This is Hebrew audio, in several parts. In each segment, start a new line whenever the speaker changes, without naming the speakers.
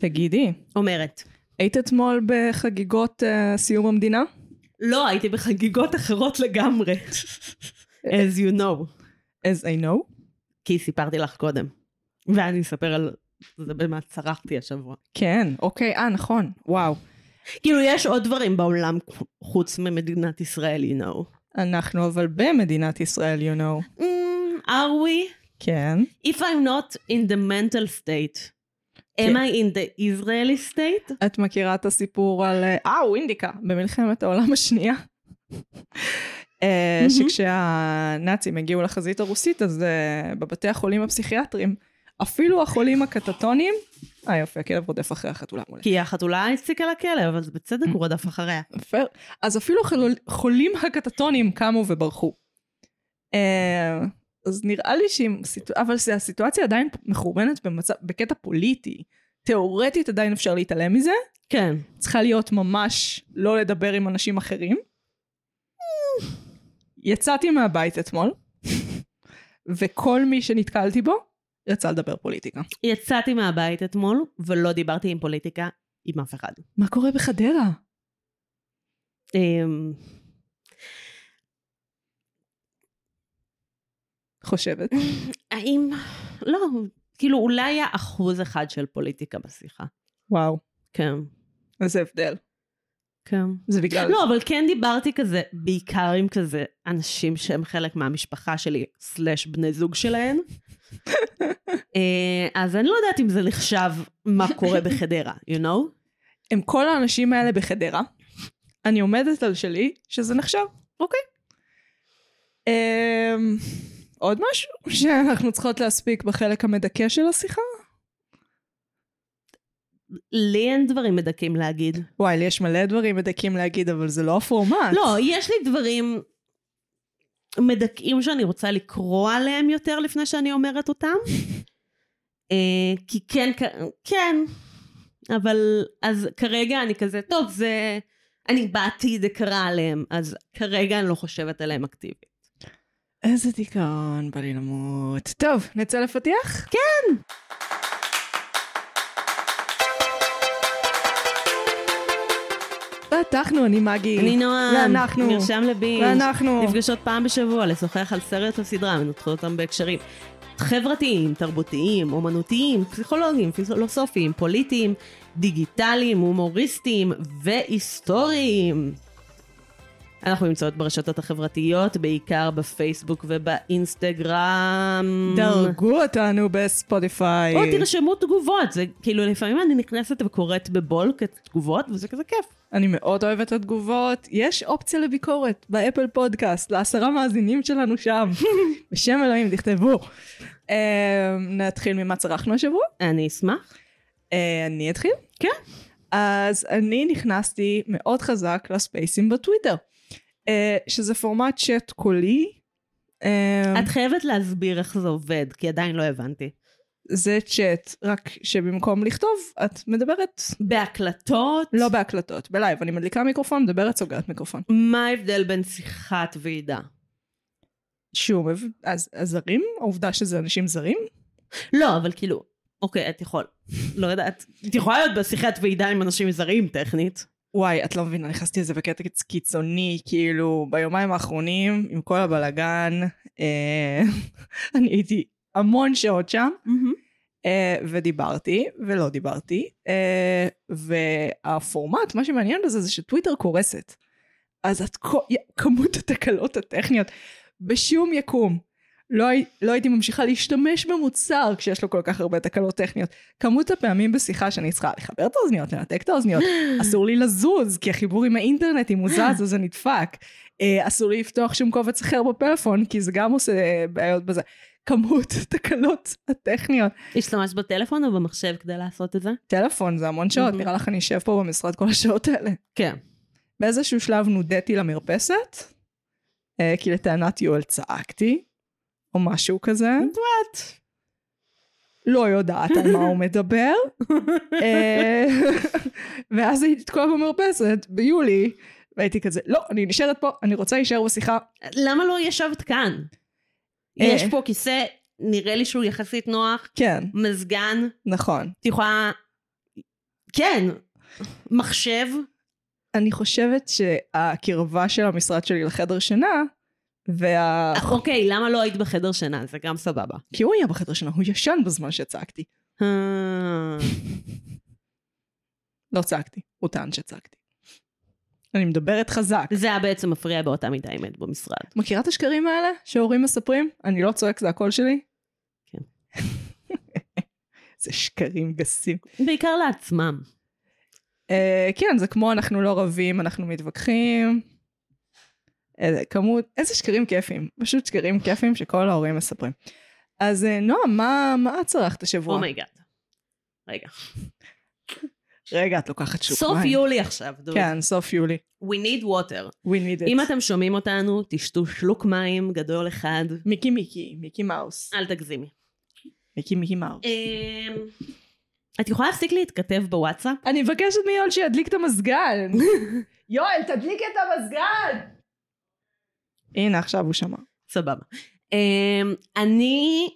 תגידי,
אומרת.
היית אתמול בחגיגות אה, סיום המדינה?
לא, הייתי בחגיגות אחרות לגמרי. As you know.
As I know.
כי סיפרתי לך קודם. ואני אספר על זה במה צרחתי השבוע.
כן, אוקיי, אה, נכון, וואו.
כאילו, יש עוד דברים בעולם חוץ ממדינת ישראל, you know.
אנחנו אבל במדינת ישראל, you know.
Mm, are we?
כן.
If I'm not in the mental state, am
כן.
I in the Israeli state?
את מכירה את הסיפור על... אה, אה, ווינדיקה, במלחמת העולם השנייה. אה,
מהמם.
שכשהנאצים הגיעו לחזית הרוסית, אז אה, בבתי החולים הפסיכיאטרים, אפילו החולים הקטטונים... אה, יופי, הכלב רודף אחרי החתולה מולי.
כי החתולה הציקה לכלב, אז בצדק הוא רדף אחריה.
פייר. אז אפילו חלול- חולים הקטטונים קמו וברחו. אה, אז נראה לי שאם... סיטו- אבל זה- הסיטואציה עדיין מכוונת במצב- בקטע פוליטי. תאורטית עדיין אפשר להתעלם מזה.
כן.
צריכה להיות ממש לא לדבר עם אנשים אחרים. יצאתי מהבית אתמול, וכל מי שנתקלתי בו רצה לדבר פוליטיקה.
יצאתי מהבית אתמול, ולא דיברתי עם פוליטיקה עם אף אחד.
מה קורה בחדרה?
אמ,
חושבת.
האם... לא, כאילו אולי היה אחוז אחד של פוליטיקה בשיחה.
וואו,
כן.
איזה הבדל.
כן.
זה בגלל...
לא, אבל כן דיברתי כזה, בעיקר עם כזה אנשים שהם חלק מהמשפחה שלי, סלאש בני זוג שלהם. אה, אז אני לא יודעת אם זה נחשב מה קורה בחדרה, you know?
הם כל האנשים האלה בחדרה. אני עומדת על שלי, שזה נחשב. אוקיי. אמ, עוד משהו שאנחנו צריכות להספיק בחלק המדכא של השיחה?
לי אין דברים מדכאים להגיד.
וואי, לי יש מלא דברים מדכאים להגיד, אבל זה לא הפורמט.
לא, יש לי דברים מדכאים שאני רוצה לקרוא עליהם יותר לפני שאני אומרת אותם. אה, כי כן, כ- כן, אבל אז כרגע אני כזה, טוב, זה... אני באתי, זה קרה עליהם, אז כרגע אני לא חושבת עליהם אקטיבית.
איזה דיכאון, בא לי למות. טוב, נצא לפתיח? כן. פתחנו, אני מגי.
אני נועם,
אה, ואנחנו.
נרשם לבינג',
ואנחנו.
נפגשות פעם בשבוע לשוחח על סרט או סדרה, מנתחות אותם בהקשרים חברתיים, תרבותיים, אומנותיים, פסיכולוגיים, פילוסופיים, פוליטיים, דיגיטליים, הומוריסטיים והיסטוריים. אנחנו נמצאות ברשתות החברתיות, בעיקר בפייסבוק ובאינסטגרם.
דרגו אותנו בספוטיפיי.
או תרשמו תגובות, זה כאילו לפעמים אני נכנסת וקוראת בבולק את התגובות, וזה כזה כיף.
אני מאוד אוהבת את התגובות. יש אופציה לביקורת באפל פודקאסט, לעשרה מאזינים שלנו שם. בשם אלוהים, תכתבו. אמ, נתחיל ממה צרכנו השבוע?
אני אשמח.
אה, אני אתחיל?
כן.
אז אני נכנסתי מאוד חזק לספייסים בטוויטר, אה, שזה פורמט צ'אט קולי. אה,
את חייבת להסביר איך זה עובד, כי עדיין לא הבנתי.
זה צ'אט, רק שבמקום לכתוב, את מדברת
בהקלטות?
לא בהקלטות, בלייב. אני מדליקה מיקרופון, מדברת, סוגרת מיקרופון.
מה ההבדל בין שיחת ועידה?
שום, הב- אז אז זרים? העובדה שזה אנשים זרים?
לא, אבל כאילו, אוקיי, את יכול. לא יודעת. את יכולה להיות בשיחת ועידה עם אנשים זרים, טכנית.
וואי, את לא מבינה, נכנסתי לזה בקטע קיצוני, כאילו, ביומיים האחרונים, עם כל הבלגן, אה, אני הייתי המון שעות שם, אה, ודיברתי, ולא דיברתי, אה, והפורמט, מה שמעניין בזה זה שטוויטר קורסת. אז את, כל- כמות התקלות הטכניות בשום יקום. לא, הי- לא הייתי ממשיכה להשתמש במוצר כשיש לו כל כך הרבה תקלות טכניות. כמות הפעמים בשיחה שאני צריכה לחבר את האוזניות, לנתק את האוזניות, אסור לי לזוז, כי החיבור עם האינטרנט, אם הוא זז אז זה נדפק. אה, אסור לי לפתוח שום קובץ אחר בפלאפון, כי זה גם עושה אה, בעיות בזה. כמות התקלות הטכניות.
השתמשת בטלפון או במחשב כדי לעשות את זה?
טלפון זה המון שעות,
Mhm.
נראה לך אני אשב פה במשרד כל השעות האלה.
כן.
באיזשהו שלב נודיתי למרפסת, אה, כי לטענת יואל צעקתי, או משהו כזה.
וואט.
לא יודעת על מה הוא מדבר. אה, ואז הייתי תקועה במרפסת ביולי, והייתי כזה, לא, אני נשארת פה, אני רוצה להישאר בשיחה.
למה לא ישבת כאן?
אה.
יש פה כיסא, נראה לי שהוא יחסית נוח,
כן,
מזגן,
נכון.
את יכולה כן, מחשב,
אני חושבת שהקרבה של המשרד שלי לחדר שינה, וה...
אך, אוקיי, למה לא היית בחדר שינה? זה גם סבבה.
כי הוא היה בחדר שינה, הוא ישן בזמן שצעקתי.
אה,
לא צעקתי, הוא טען שצעקתי. אני מדברת חזק.
זה היה בעצם מפריע באותה מידה האמת במשרד.
מכירה את השקרים האלה שהורים מספרים? אני לא צועק, זה הקול שלי?
כן.
זה שקרים גסים.
בעיקר לעצמם.
אה, כן, זה כמו אנחנו לא רבים, אנחנו מתווכחים. איזה כמות, איזה שקרים כיפים. פשוט שקרים כיפים שכל ההורים מספרים. אז אה, נועם, מה, מה את צרכת השבוע?
אומייגאד. רגע.
רגע, את לוקחת שוק
סוף
מים.
יולי עכשיו, דוד.
כן, סוף יולי.
We need water.
We need it.
אם אתם שומעים אותנו, תשתו שלוק מים גדול אחד.
מיקי מיקי, מיקי מאוס.
אל תגזימי.
מיקי מיקי מאוס.
אמ, את יכולה להפסיק להתכתב בוואטסאפ?
אני מבקשת מיואל שידליק את המזגן. יואל, תדליק את המזגן! הנה, עכשיו הוא שמע.
סבבה. אמ, אני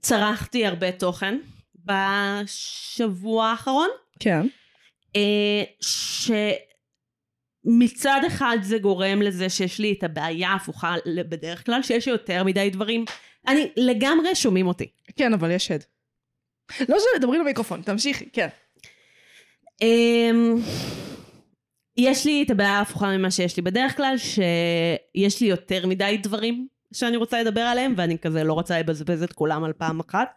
צרכתי הרבה תוכן בשבוע האחרון,
כן.
אה, שמצד אחד זה גורם לזה שיש לי את הבעיה ההפוכה ל- בדרך כלל, שיש יותר מדי דברים. אני לגמרי שומעים אותי.
כן, אבל יש הד. לא משנה, דברי למיקרופון, תמשיכי, כן.
אמ, יש לי את הבעיה ההפוכה ממה שיש לי בדרך כלל, שיש לי יותר מדי דברים שאני רוצה לדבר עליהם, ואני כזה לא רוצה לבזבז את כולם על פעם אחת,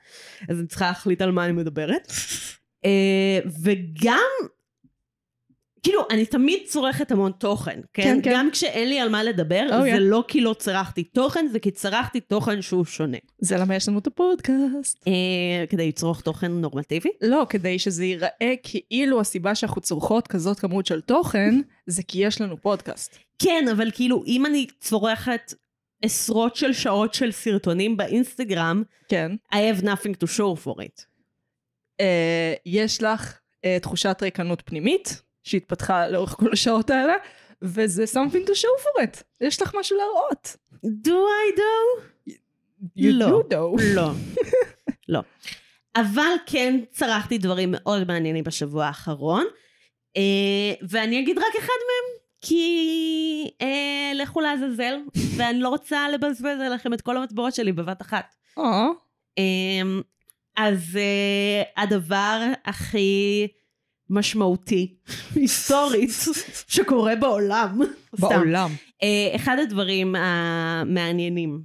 אז אני צריכה להחליט על מה אני מדברת. אה, וגם, כאילו, אני תמיד צורכת המון תוכן, כן?
כן, כן.
גם כשאין לי על מה לדבר,
Oh,
oh,
yeah.
זה לא כי לא צרכתי תוכן, זה כי צרכתי תוכן שהוא שונה.
זה למה יש לנו את הפודקאסט.
אה, כדי לצרוך תוכן נורמטיבי.
לא, כדי שזה ייראה כאילו הסיבה שאנחנו צורכות כזאת כמות של תוכן, זה כי יש לנו פודקאסט.
כן, אבל כאילו, אם אני צורכת עשרות של שעות של סרטונים באינסטגרם,
כן.
I have nothing to show for it.
אה, יש לך אה, תחושת ריקנות פנימית שהתפתחה לאורך כל השעות האלה, וזה something to show for it. יש לך משהו להראות.
Do I do?
You
לא.
do know.
לא. לא. אבל כן צרכתי דברים מאוד מעניינים בשבוע האחרון, אה, ואני אגיד רק אחד מהם, כי אה, לכו לעזאזל, ואני לא רוצה לבזבז עליכם את כל המטבעות שלי בבת אחת.
אה,
אמ, אז אה, הדבר הכי משמעותי, היסטורית, שקורה בעולם. סתם.
בעולם.
אה, אחד הדברים המעניינים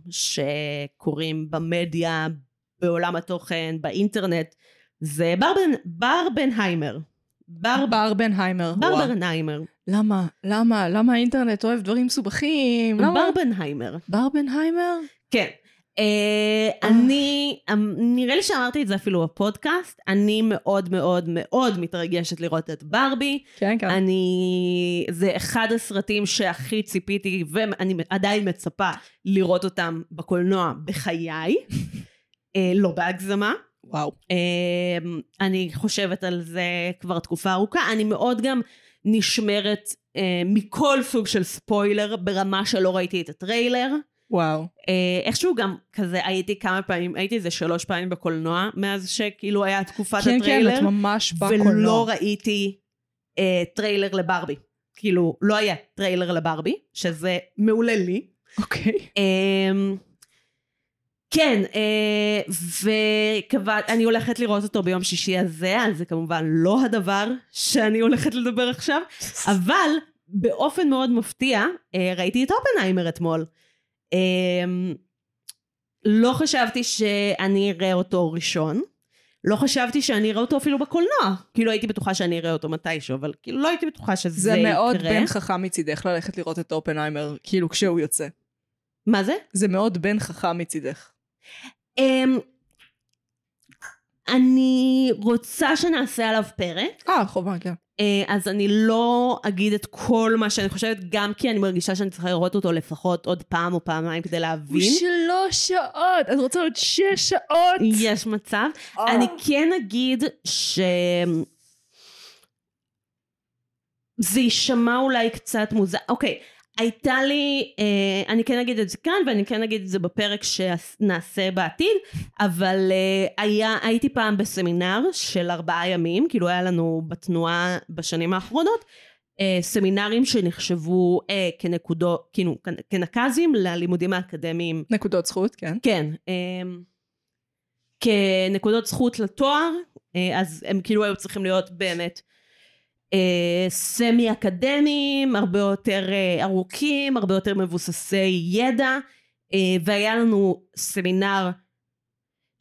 שקורים במדיה, בעולם התוכן, באינטרנט, זה ברבן, ברבנהיימר. בר,
ברבנהיימר. וואו.
ברברנהיימר.
למה? למה? למה האינטרנט אוהב דברים מסובכים? למה?
ברבנהיימר.
ברבנהיימר?
כן. אה, אני, אמ, נראה לי שאמרתי את זה אפילו בפודקאסט, אני מאוד מאוד מאוד מתרגשת לראות את ברבי.
כן, כן.
אני, זה אחד הסרטים שהכי ציפיתי, ואני עדיין מצפה לראות אותם בקולנוע בחיי. אה, לא בהגזמה.
וואו.
אמ, אני חושבת על זה כבר תקופה ארוכה. אני מאוד גם נשמרת אה, מכל סוג של ספוילר ברמה שלא ראיתי את הטריילר.
וואו.
אה, איכשהו גם כזה הייתי כמה פעמים, הייתי איזה שלוש פעמים בקולנוע מאז שכאילו היה תקופת
כן, כן,
הטריילר,
את ממש
ולא
בקולנוע.
ראיתי אה, טריילר לברבי. כאילו, לא היה טריילר לברבי, שזה מעולה לי.
אוקיי.
אמ, כן, אה, וכאני הולכת לראות אותו ביום שישי הזה, אז זה כמובן לא הדבר שאני הולכת לדבר עכשיו, אבל באופן מאוד מפתיע, אה, ראיתי את אופנהיימר אתמול. אמ, לא חשבתי שאני אראה אותו ראשון. לא חשבתי שאני אראה אותו אפילו בקולנוע. כאילו הייתי בטוחה שאני אראה אותו מתישהו, אבל כאילו לא הייתי בטוחה שזה
זה
יקרה.
מאוד בן חכם מצידך ללכת לראות את אופנהיימר, כאילו כשהוא יוצא.
מה זה?
זה מאוד בן חכם מצידך.
אמ, אני רוצה שנעשה עליו פרק,
אה, חובה, כן.
אה, אז אני לא אגיד את כל מה שאני חושבת, גם כי אני מרגישה שאני צריכה לראות אותו לפחות עוד פעם או פעמיים כדי
הוא
להבין.
שלוש שעות, את רוצה עוד שש שעות?
יש מצב.
אה.
אני כן אגיד ש... זה יישמע אולי קצת מוזר. אוקיי, הייתה לי, אה, אני כן אגיד את זה כאן ואני כן אגיד את זה בפרק שנעשה בעתיד, אבל אה, היה, הייתי פעם בסמינר של ארבעה ימים, כאילו היה לנו בתנועה בשנים האחרונות, אה, סמינרים שנחשבו אה, כנקודו, כאילו כנ- כנקזים ללימודים האקדמיים
נקודות זכות, כן.
כן, אמ, כן, כנקודות זכות לתואר, אה, אז הם כאילו היו צריכים להיות באמת אה, סמי אקדמיים, הרבה יותר אה, ארוכים, הרבה יותר מבוססי ידע, אה, והיה לנו סמינר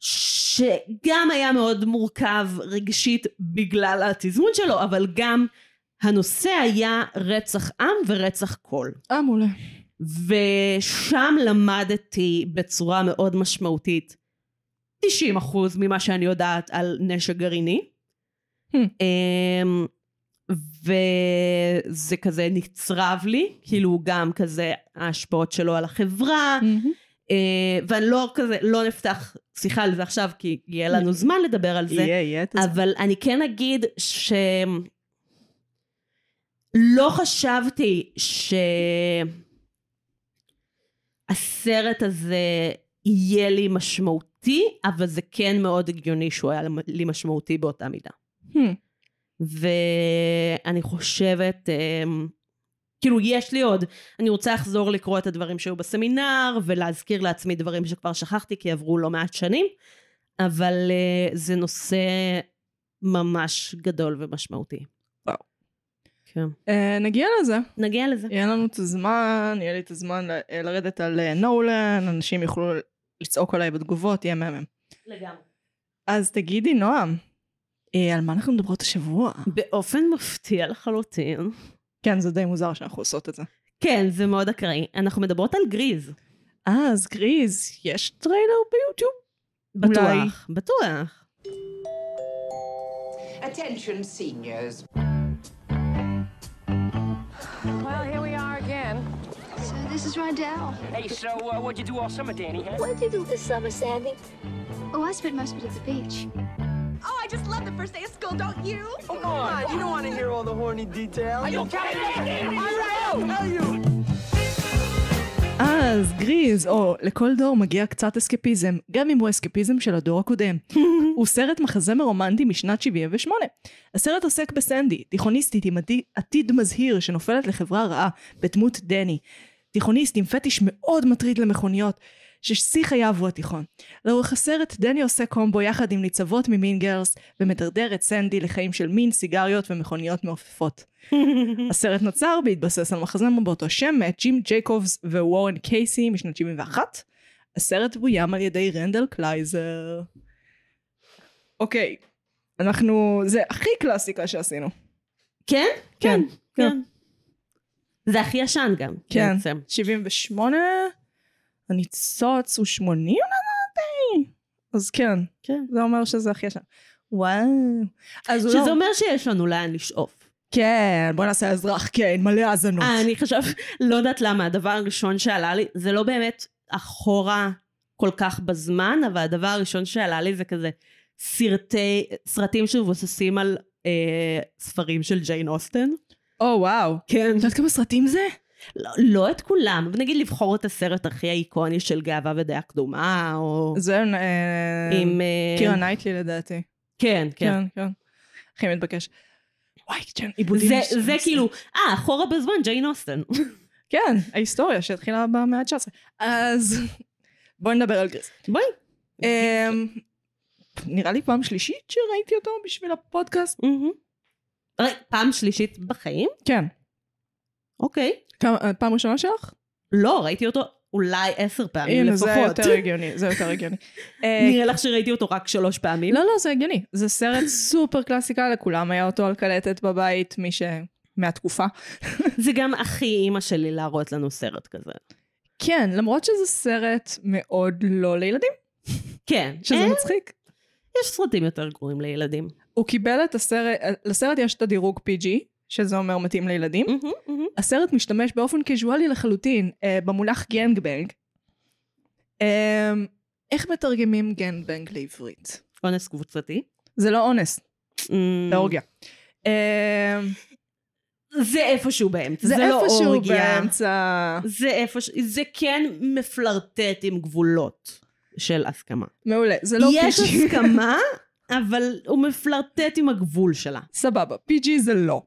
שגם היה מאוד מורכב רגשית בגלל התזמון שלו, אבל גם הנושא היה רצח עם ורצח קול.
אה, מעולה.
ושם למדתי בצורה מאוד משמעותית 90% ממה שאני יודעת על נשק גרעיני.
Hmm.
אמ, וזה כזה נצרב לי, כאילו גם כזה ההשפעות שלו על החברה,
Hmm.
אה, ואני לא כזה, לא נפתח שיחה על זה עכשיו כי יהיה לנו זמן לדבר על זה.
Hmm. יהיה, יהיה. את הזמן.
אבל אני כן אגיד ש... לא חשבתי שהסרט הזה יהיה לי משמעותי, אבל זה כן מאוד הגיוני שהוא היה לי משמעותי באותה מידה.
Hmm.
ואני חושבת, אמ, כאילו יש לי עוד, אני רוצה לחזור לקרוא את הדברים שהיו בסמינר ולהזכיר לעצמי דברים שכבר שכחתי כי עברו לא מעט שנים, אבל אה, זה נושא ממש גדול ומשמעותי.
וואו.
כן.
אה, נגיע לזה.
נגיע לזה.
יהיה לנו את הזמן, יהיה לי את הזמן ל- אה, לרדת על אה, נולן, אנשים יוכלו לצעוק עליי בתגובות, יהיה מהמם.
לגמרי.
אז תגידי, נועם, אה, על מה אנחנו מדברות השבוע?
באופן מפתיע לחלוטין.
כן, זה די מוזר שאנחנו עושות את זה.
כן, זה מאוד אקראי. אנחנו מדברות על גריז.
אה, אז גריז, יש טריילר ביוטיוב? אולי.
בטוח. בטוח.
Attention seniors.
Well, here we are again.
So this is Rondell.
Hey, so uh, what'd you do all summer, Danny? Huh?
What did you do this summer, Sandy? Oh, I spent most of it at the beach.
Oh, I just love the first day of school, don't you?
Oh, Come on, you don't want to hear all the horny details. Are you kidding me?
אז גריז, או לכל דור מגיע קצת אסקפיזם, גם אם הוא אסקפיזם של הדור הקודם. הוא סרט מחזמר רומנטי משנת 78. הסרט עוסק בסנדי, תיכוניסטית עם עתיד, עתיד מזהיר שנופלת לחברה רעה בדמות דני. תיכוניסט עם פטיש מאוד מטריד למכוניות, ששיא חייו הוא התיכון. לאורך הסרט דני עושה קומבו יחד עם ניצבות ממין גרס, ומדרדר את סנדי לחיים של מין, סיגריות ומכוניות מעופפות. הסרט נוצר בהתבסס על מחזמר באותו שם מאת ג'ים ג'ייקובס ווורן קייסי משנת 71. הסרט בוים על ידי רנדל קלייזר. אוקיי, אנחנו... זה הכי קלאסיקה שעשינו.
כן?
כן.
כן. זה הכי ישן גם.
כן.
בעצם.
78, הניצוץ הוא 80 לדעתי. אז כן,
כן.
זה אומר שזה הכי ישן. וואו. אז הוא
שזה
לא...
אומר שיש לנו לאן לשאוף.
כן, בוא נעשה אזרח כן, מלא האזנות.
אה, אני חשב, לא יודעת למה, הדבר הראשון שעלה לי, זה לא באמת אחורה כל כך בזמן, אבל הדבר הראשון שעלה לי זה כזה סרטי, סרטים שמבוססים על אה, ספרים של ג'יין אוסטן.
או וואו.
כן.
את יודעת כמה סרטים זה?
לא, לא את כולם, אבל נגיד לבחור את הסרט הכי האיקוני של גאווה ודעה קדומה, או
זה אה,
עם... אה,
קירה נייטלי לדעתי.
כן, כן.
כן, כן. הכי מתבקש. וואי, כן, עיבודים.
זה,
של-
זה כאילו, אה, אחורה בזמן, ג'יין אוסטן.
כן, ההיסטוריה שהתחילה במאה ה-19. אז בואי נדבר על גריז.
בואי.
אמ, נראה לי פעם שלישית שראיתי אותו בשביל הפודקאסט.
מהמם. רגע, פעם שלישית בחיים?
כן.
אוקיי.
כמה- פעם ראשונה שלך?
לא, ראיתי אותו אולי עשר פעמים
הנה, זה
לפחות.
יותר הגיוני, זה יותר הגיוני. אה,
נראה לך שראיתי אותו רק שלוש פעמים?
לא, לא, זה הגיוני. זה סרט סופר קלאסיקה, לכולם היה אותו על קלטת בבית, מי ש... מהתקופה.
זה גם הכי אימא שלי להראות לנו סרט כזה.
כן, למרות שזה סרט מאוד לא לילדים,
כן.
שזה לא-
אה,
מצחיק.
יש סרטים יותר גרועים לילדים.
הוא קיבל את הסרט, לסרט יש את הדירוג PG, שזה אומר מתאים לילדים.
מהמם, מהמם.
הסרט משתמש באופן קזואלי לחלוטין אה, במונח גנגבנג. אה, איך מתרגמים גנגבנג לעברית?
אונס קבוצתי.
זה לא אונס,
אמ,
זה אורגיה. אה,
זה איפשהו באמצע, זה,
זה
לא
איפשהו
אורגיה.
באמצע.
זה איפשהו, זה כן מפלרטט עם גבולות של הסכמה.
מעולה, זה לא
יש
PG.
הסכמה, אבל הוא מפלרטט עם הגבול שלה.
סבבה, PG זה לא.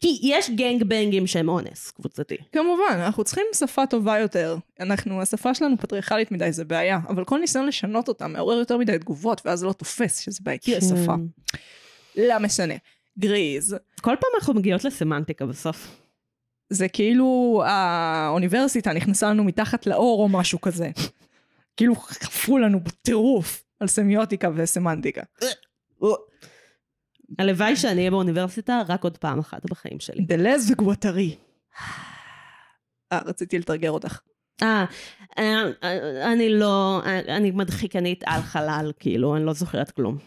כי יש גנג בנגים שהם אונס קבוצתי.
כמובן, אנחנו צריכים שפה טובה יותר. אנחנו, השפה שלנו פטריארכלית מדי, זה בעיה. אבל כל ניסיון לשנות אותה מעורר יותר מדי תגובות, ואז זה לא תופס שזה בעיקר
כן.
השפה. לא משנה. גריז,
כל פעם אנחנו מגיעות לסמנטיקה בסוף.
זה כאילו האוניברסיטה נכנסה לנו מתחת לאור או משהו כזה. כאילו חפרו לנו בטירוף על סמיוטיקה וסמנטיקה.
הלוואי שאני אהיה באוניברסיטה רק עוד פעם אחת בחיים שלי.
דלז וגואטרי. אה, רציתי לתרגר אותך.
אה, אה, אה, אני לא, אה, אני מדחיקנית על חלל, כאילו, אני לא זוכרת כלום.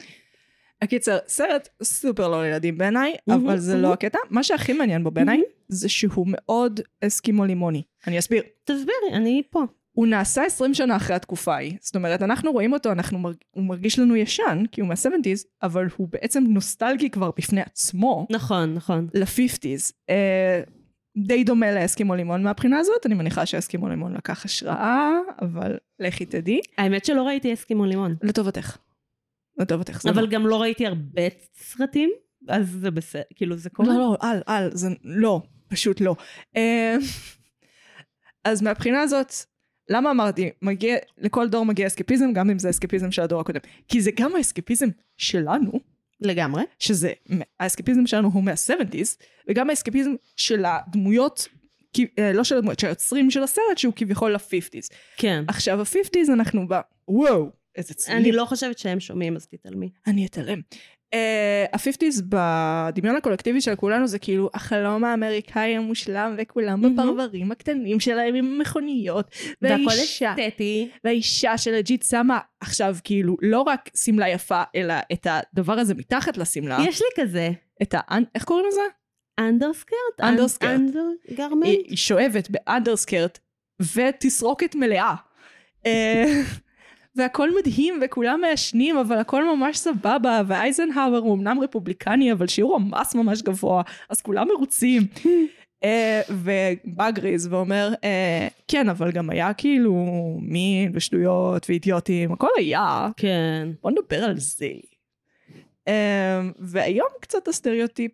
הקיצר, סרט סופר לא לילדים בעיניי,
מהמם,
אבל זה
מהמם.
לא הקטע. מה שהכי מעניין בו בעיניי, זה שהוא מאוד אסקימו לימוני. אני אסביר.
תסבירי, אני פה.
הוא נעשה 20 שנה אחרי התקופה ההיא. זאת אומרת, אנחנו רואים אותו, אנחנו מרג... הוא מרגיש לנו ישן, כי הוא מה-70's, אבל הוא בעצם נוסטלגי כבר בפני עצמו,
נכון, נכון.
ל-50's. אה, די דומה לאסקימו לימון מהבחינה הזאת, אני מניחה שאסקימו לימון לקח השראה, אבל לכי תדעי.
האמת שלא ראיתי אסקימו לימון.
לטובתך. לטובתך. זה
אבל גם לא ראיתי הרבה סרטים, אז זה בסדר, כאילו זה קורה.
לא, לא, אל, אל, זה לא, פשוט לא. אה, אז מהבחינה הזאת, למה אמרתי, מגיע, לכל דור מגיע אסקפיזם, גם אם זה אסקפיזם של הדור הקודם. כי זה גם האסקפיזם שלנו,
לגמרי.
שזה, האסקפיזם שלנו הוא מה-70's, וגם האסקפיזם של הדמויות, כי- אה, לא של הדמויות, של היוצרים של הסרט, שהוא כביכול ה-50's.
כן.
עכשיו ה-50's אנחנו ב... וואו, איזה צליל.
אני לא חושבת שהם שומעים, אז תתעלמי.
אני אתעלם. הפיפטיז בדמיון הקולקטיבי של כולנו זה כאילו החלום האמריקאי המושלם וכולם
מהמם.
בפרברים הקטנים שלהם עם המכוניות
והכל
והאישה,
אסתטי.
והאישה שלג'יט שמה עכשיו כאילו לא רק שמלה יפה אלא את הדבר הזה מתחת לשמלה,
יש לי כזה.
את ה... איך קוראים לזה?
אנדרסקרט?
אנדרסקרט.
אנדרגרמנט?
היא היא שואבת באנדרסקרט ותסרוקת מלאה. אה, והכל מדהים וכולם מעשנים אבל הכל ממש סבבה ואייזנהאואר הוא אמנם רפובליקני אבל שיעור המס ממש גבוה אז כולם מרוצים. אה, ובא גריז ואומר אה, כן אבל גם היה כאילו מין ושטויות ואידיוטים הכל היה
כן.
בוא נדבר על זה. Um, והיום קצת הסטריאוטיפ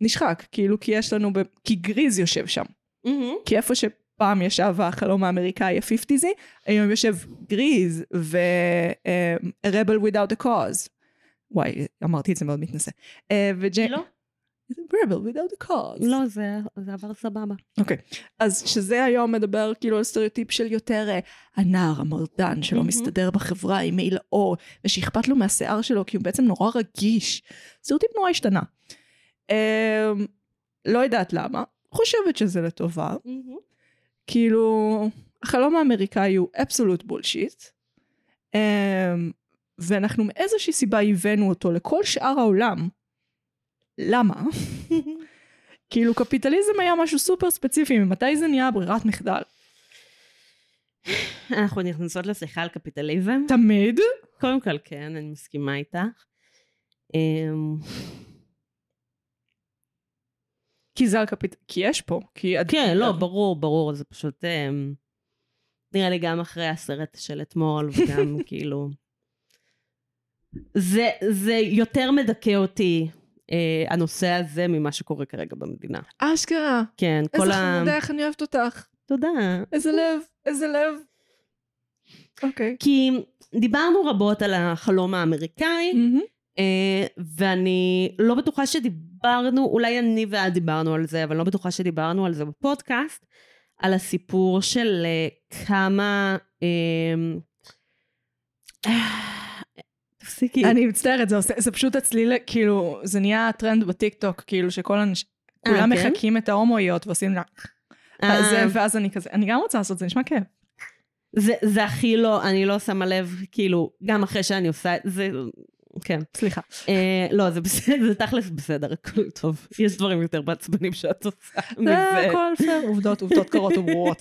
נשחק כאילו כי יש לנו ב... כי גריז יושב שם.
Mm-hmm.
כי איפה שפעם ישב החלום האמריקאי הפיפטיזי, היום יושב גריז ו-Rebel Without a Cause. וואי, אמרתי את זה מאוד מתנשא. אה, וג'י...
לא.
Rebel Without a Cause.
לא, זה זה עבר סבבה.
אוקיי. אז שזה היום מדבר כאילו על סטריאוטיפ של יותר אה, הנער המרדן שלא
מהמם.
מסתדר בחברה עם מעיל האור, ושאכפת לו מהשיער שלו כי הוא בעצם נורא רגיש. סטריאוטיפ נורא השתנה. אה, לא יודעת למה. חושבת שזה לטובה, כאילו, החלום האמריקאי הוא אבסולוט בולשיט, um, ואנחנו מאיזושהי סיבה הבאנו אותו לכל שאר העולם. למה? כאילו, קפיטליזם היה משהו סופר ספציפי, ממתי זה נהיה ברירת מחדל?
אנחנו נכנסות לשיחה על קפיטליזם.
תמיד?
קודם כל, כן, אני מסכימה איתך. אמ,
כי זה על קפיט... כי יש פה, כי... עד-
כן, לא, ברור, ברור, זה פשוט... אמ, נראה לי גם אחרי הסרט של אתמול, וגם כאילו... זה, זה יותר מדכא אותי, אה, הנושא הזה, ממה שקורה כרגע במדינה.
אשכרה.
כן,
איזה
כל ה...
חמודה, איך אני אוהבת אותך.
תודה.
איזה לב, איזה לב. אוקיי.
כי דיברנו רבות על החלום האמריקאי,
מהמם.
אה, ואני לא בטוחה שדיברנו, אולי אני ואת דיברנו על זה, אבל לא בטוחה שדיברנו על זה בפודקאסט, על הסיפור של אה, כמה... אה, אה, תפסיקי.
אני מצטערת, זה, עושה, זה פשוט הצליל, כאילו, זה נהיה טרנד בטיקטוק, כאילו שכל אנשים,
אה,
כולם
כן?
מחקים את ההומואיות ועושים לה,
אה,
זה, ואז אני כזה, אני גם רוצה לעשות, זה נשמע כיף.
זה, זה הכי לא, אני לא שמה לב, כאילו, גם אחרי שאני עושה את זה, כן.
סליחה.
אה, לא, זה בסדר, זה תכלס בסדר, הכל טוב. יש דברים יותר מעצבנים שאת עושה מזה.
זה אה, הכל פייר, עובדות, עובדות קרות וברורות.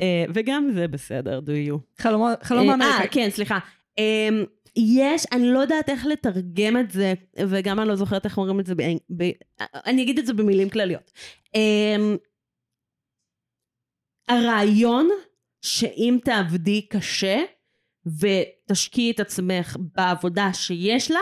אה, וגם זה בסדר, do you.
חלומו- חלום
אה,
האמריקאי.
כן, סליחה. אמ, יש, אני לא יודעת איך לתרגם את זה, וגם אני לא זוכרת איך אומרים את זה, באנג- ב... אני אגיד את זה במילים כלליות. אמ, הרעיון שאם תעבדי קשה ותשקיעי את עצמך בעבודה שיש לך,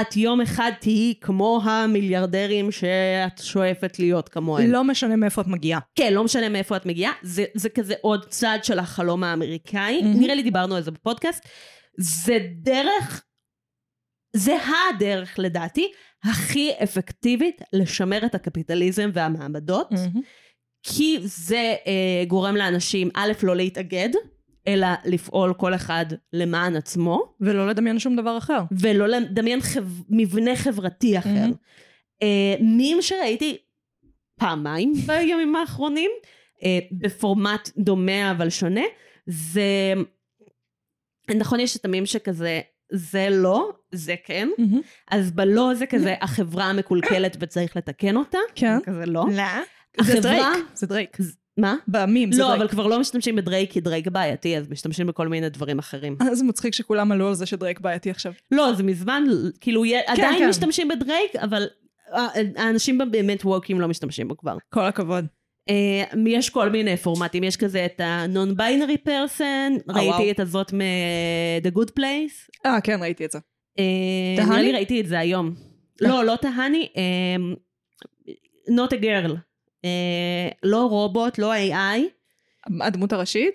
את יום אחד תהיי כמו המיליארדרים שאת שואפת להיות כמוהם.
לא משנה מאיפה את מגיעה.
כן, לא משנה מאיפה את מגיעה, זה, זה כזה עוד צד של החלום האמריקאי.
מהמם.
Mm-hmm. נראה לי דיברנו על זה בפודקאסט. זה דרך, זה הדרך לדעתי הכי אפקטיבית לשמר את הקפיטליזם והמעמדות, mm-hmm. כי זה אה, גורם לאנשים, א', לא להתאגד, אלא לפעול כל אחד למען עצמו.
ולא לדמיין שום דבר אחר.
ולא לדמיין חב... מבנה חברתי אחר.
מהמם.
אה, מים שראיתי פעמיים בימים האחרונים, אה, בפורמט דומה אבל שונה, זה... נכון, יש את המים שכזה, זה לא, זה כן. אז בלא זה כזה החברה המקולקלת וצריך לתקן אותה.
כן.
זה כזה לא.
לא. זה
החברה-
דרייק. זה דרייק.
מה?
במים זה
לא,
דרייק.
אבל כבר לא משתמשים בדרייק כי דרייק בעייתי, אז משתמשים בכל מיני דברים אחרים.
אה, זה מצחיק שכולם עלו על זה שדרייק בעייתי עכשיו.
לא, זה מזמן, כאילו, כן, עדיין
כן.
כן. משתמשים בדרייק, אבל אה, האנשים באמת ווקים לא משתמשים בו כבר.
כל הכבוד.
אה, יש כל מיני פורמטים, יש כזה את ה-non-binary person,
אה, וואו.
ראיתי את הזאת מ-The Good Place,
אה, כן, ראיתי את זה.
אה,
תהני?
נראה לי ראיתי את זה היום. לא, לא תהני, אה, not a girl. אה, לא רובוט, לא AI.
הדמות הראשית?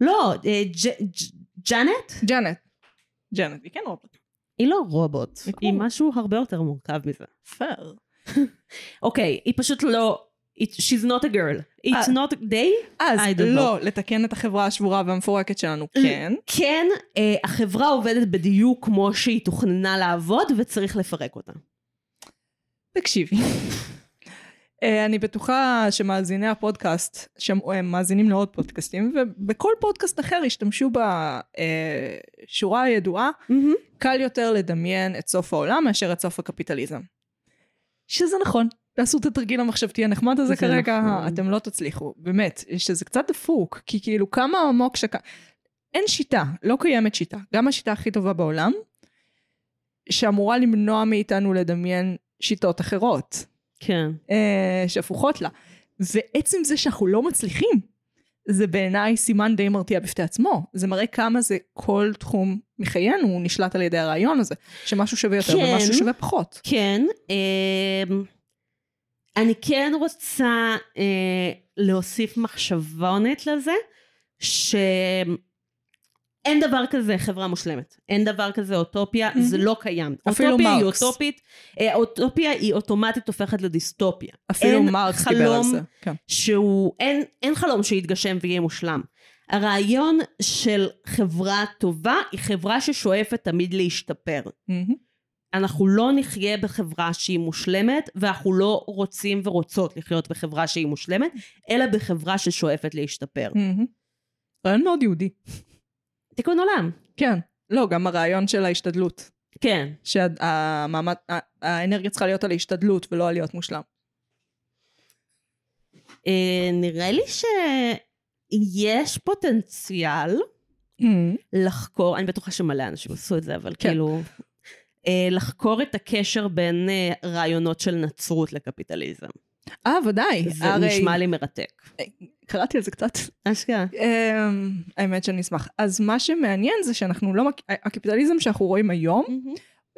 לא, אה, ג'- ג'- ג'אנט?
ג'אנט. ג'אנט, היא כן רובוט.
היא לא רובוט,
היא כמו
היא
רובוט.
משהו הרבה יותר מורכב מזה.
פייר.
אוקיי, היא פשוט לא... It, she's not a girl. It's
אה.
not they?
אז
I don't
לא, לתקן את החברה השבורה והמפורקת שלנו, כן.
כן, אה, החברה עובדת בדיוק כמו שהיא תוכננה לעבוד, וצריך לפרק אותה.
תקשיבי. אה, אני בטוחה שמאזיני הפודקאסט, שהם מאזינים לעוד פודקאסטים, ובכל פודקאסט אחר השתמשו בשורה הידועה, קל יותר לדמיין את סוף העולם מאשר את סוף הקפיטליזם. שזה נכון, תעשו את התרגיל המחשבתי הנחמד הזה
זה
כרגע,
נכון.
אתם לא תצליחו, באמת, שזה קצת דפוק, כי כאילו כמה עמוק שק... אין שיטה, לא קיימת שיטה, גם השיטה הכי טובה בעולם, שאמורה למנוע מאיתנו לדמיין שיטות אחרות.
כן.
אה, שהפוכות לה. ועצם זה שאנחנו לא מצליחים, זה בעיניי סימן די מרתיע בפני עצמו. זה מראה כמה זה כל תחום מחיינו הוא נשלט על ידי הרעיון הזה, שמשהו שווה יותר
כן.
ומשהו שווה פחות.
כן, אה, אני כן רוצה אה, להוסיף מחשבונת לזה, שאין דבר כזה חברה מושלמת. אין דבר כזה אוטופיה,
מהמם.
זה לא קיים.
אפילו
אוטופיה היא
מרקס.
אוטופית, אה, אוטופיה היא אוטומטית הופכת לדיסטופיה.
אפילו
אין
מרקס דיבר על
חלום
זה. כן.
שהוא, אין, אין חלום שיתגשם ויהיה מושלם. הרעיון של חברה טובה היא חברה ששואפת תמיד להשתפר.
מהמם.
אנחנו לא נחיה בחברה שהיא מושלמת, ואנחנו לא רוצים ורוצות לחיות בחברה שהיא מושלמת, אלא בחברה ששואפת להשתפר.
מהמם. רעיון מאוד יהודי.
תיקון עולם.
כן. לא, גם הרעיון של ההשתדלות.
כן.
שהאנרגיה צריכה להיות על ההשתדלות ולא על להיות מושלם.
אה, נראה לי שיש פוטנציאל לחקור, אני בטוחה שמלא אנשים עשו את זה, אבל
כן.
כאילו... אה, לחקור את הקשר בין אה, רעיונות של נצרות לקפיטליזם.
אה, ודאי.
זה
הרי- אה,
נשמע לי מרתק.
קראתי על זה קצת.
אשכרה.
אמ, האמת שאני אשמח. אז מה שמעניין זה שאנחנו לא... מק- הקפיטליזם שאנחנו רואים היום,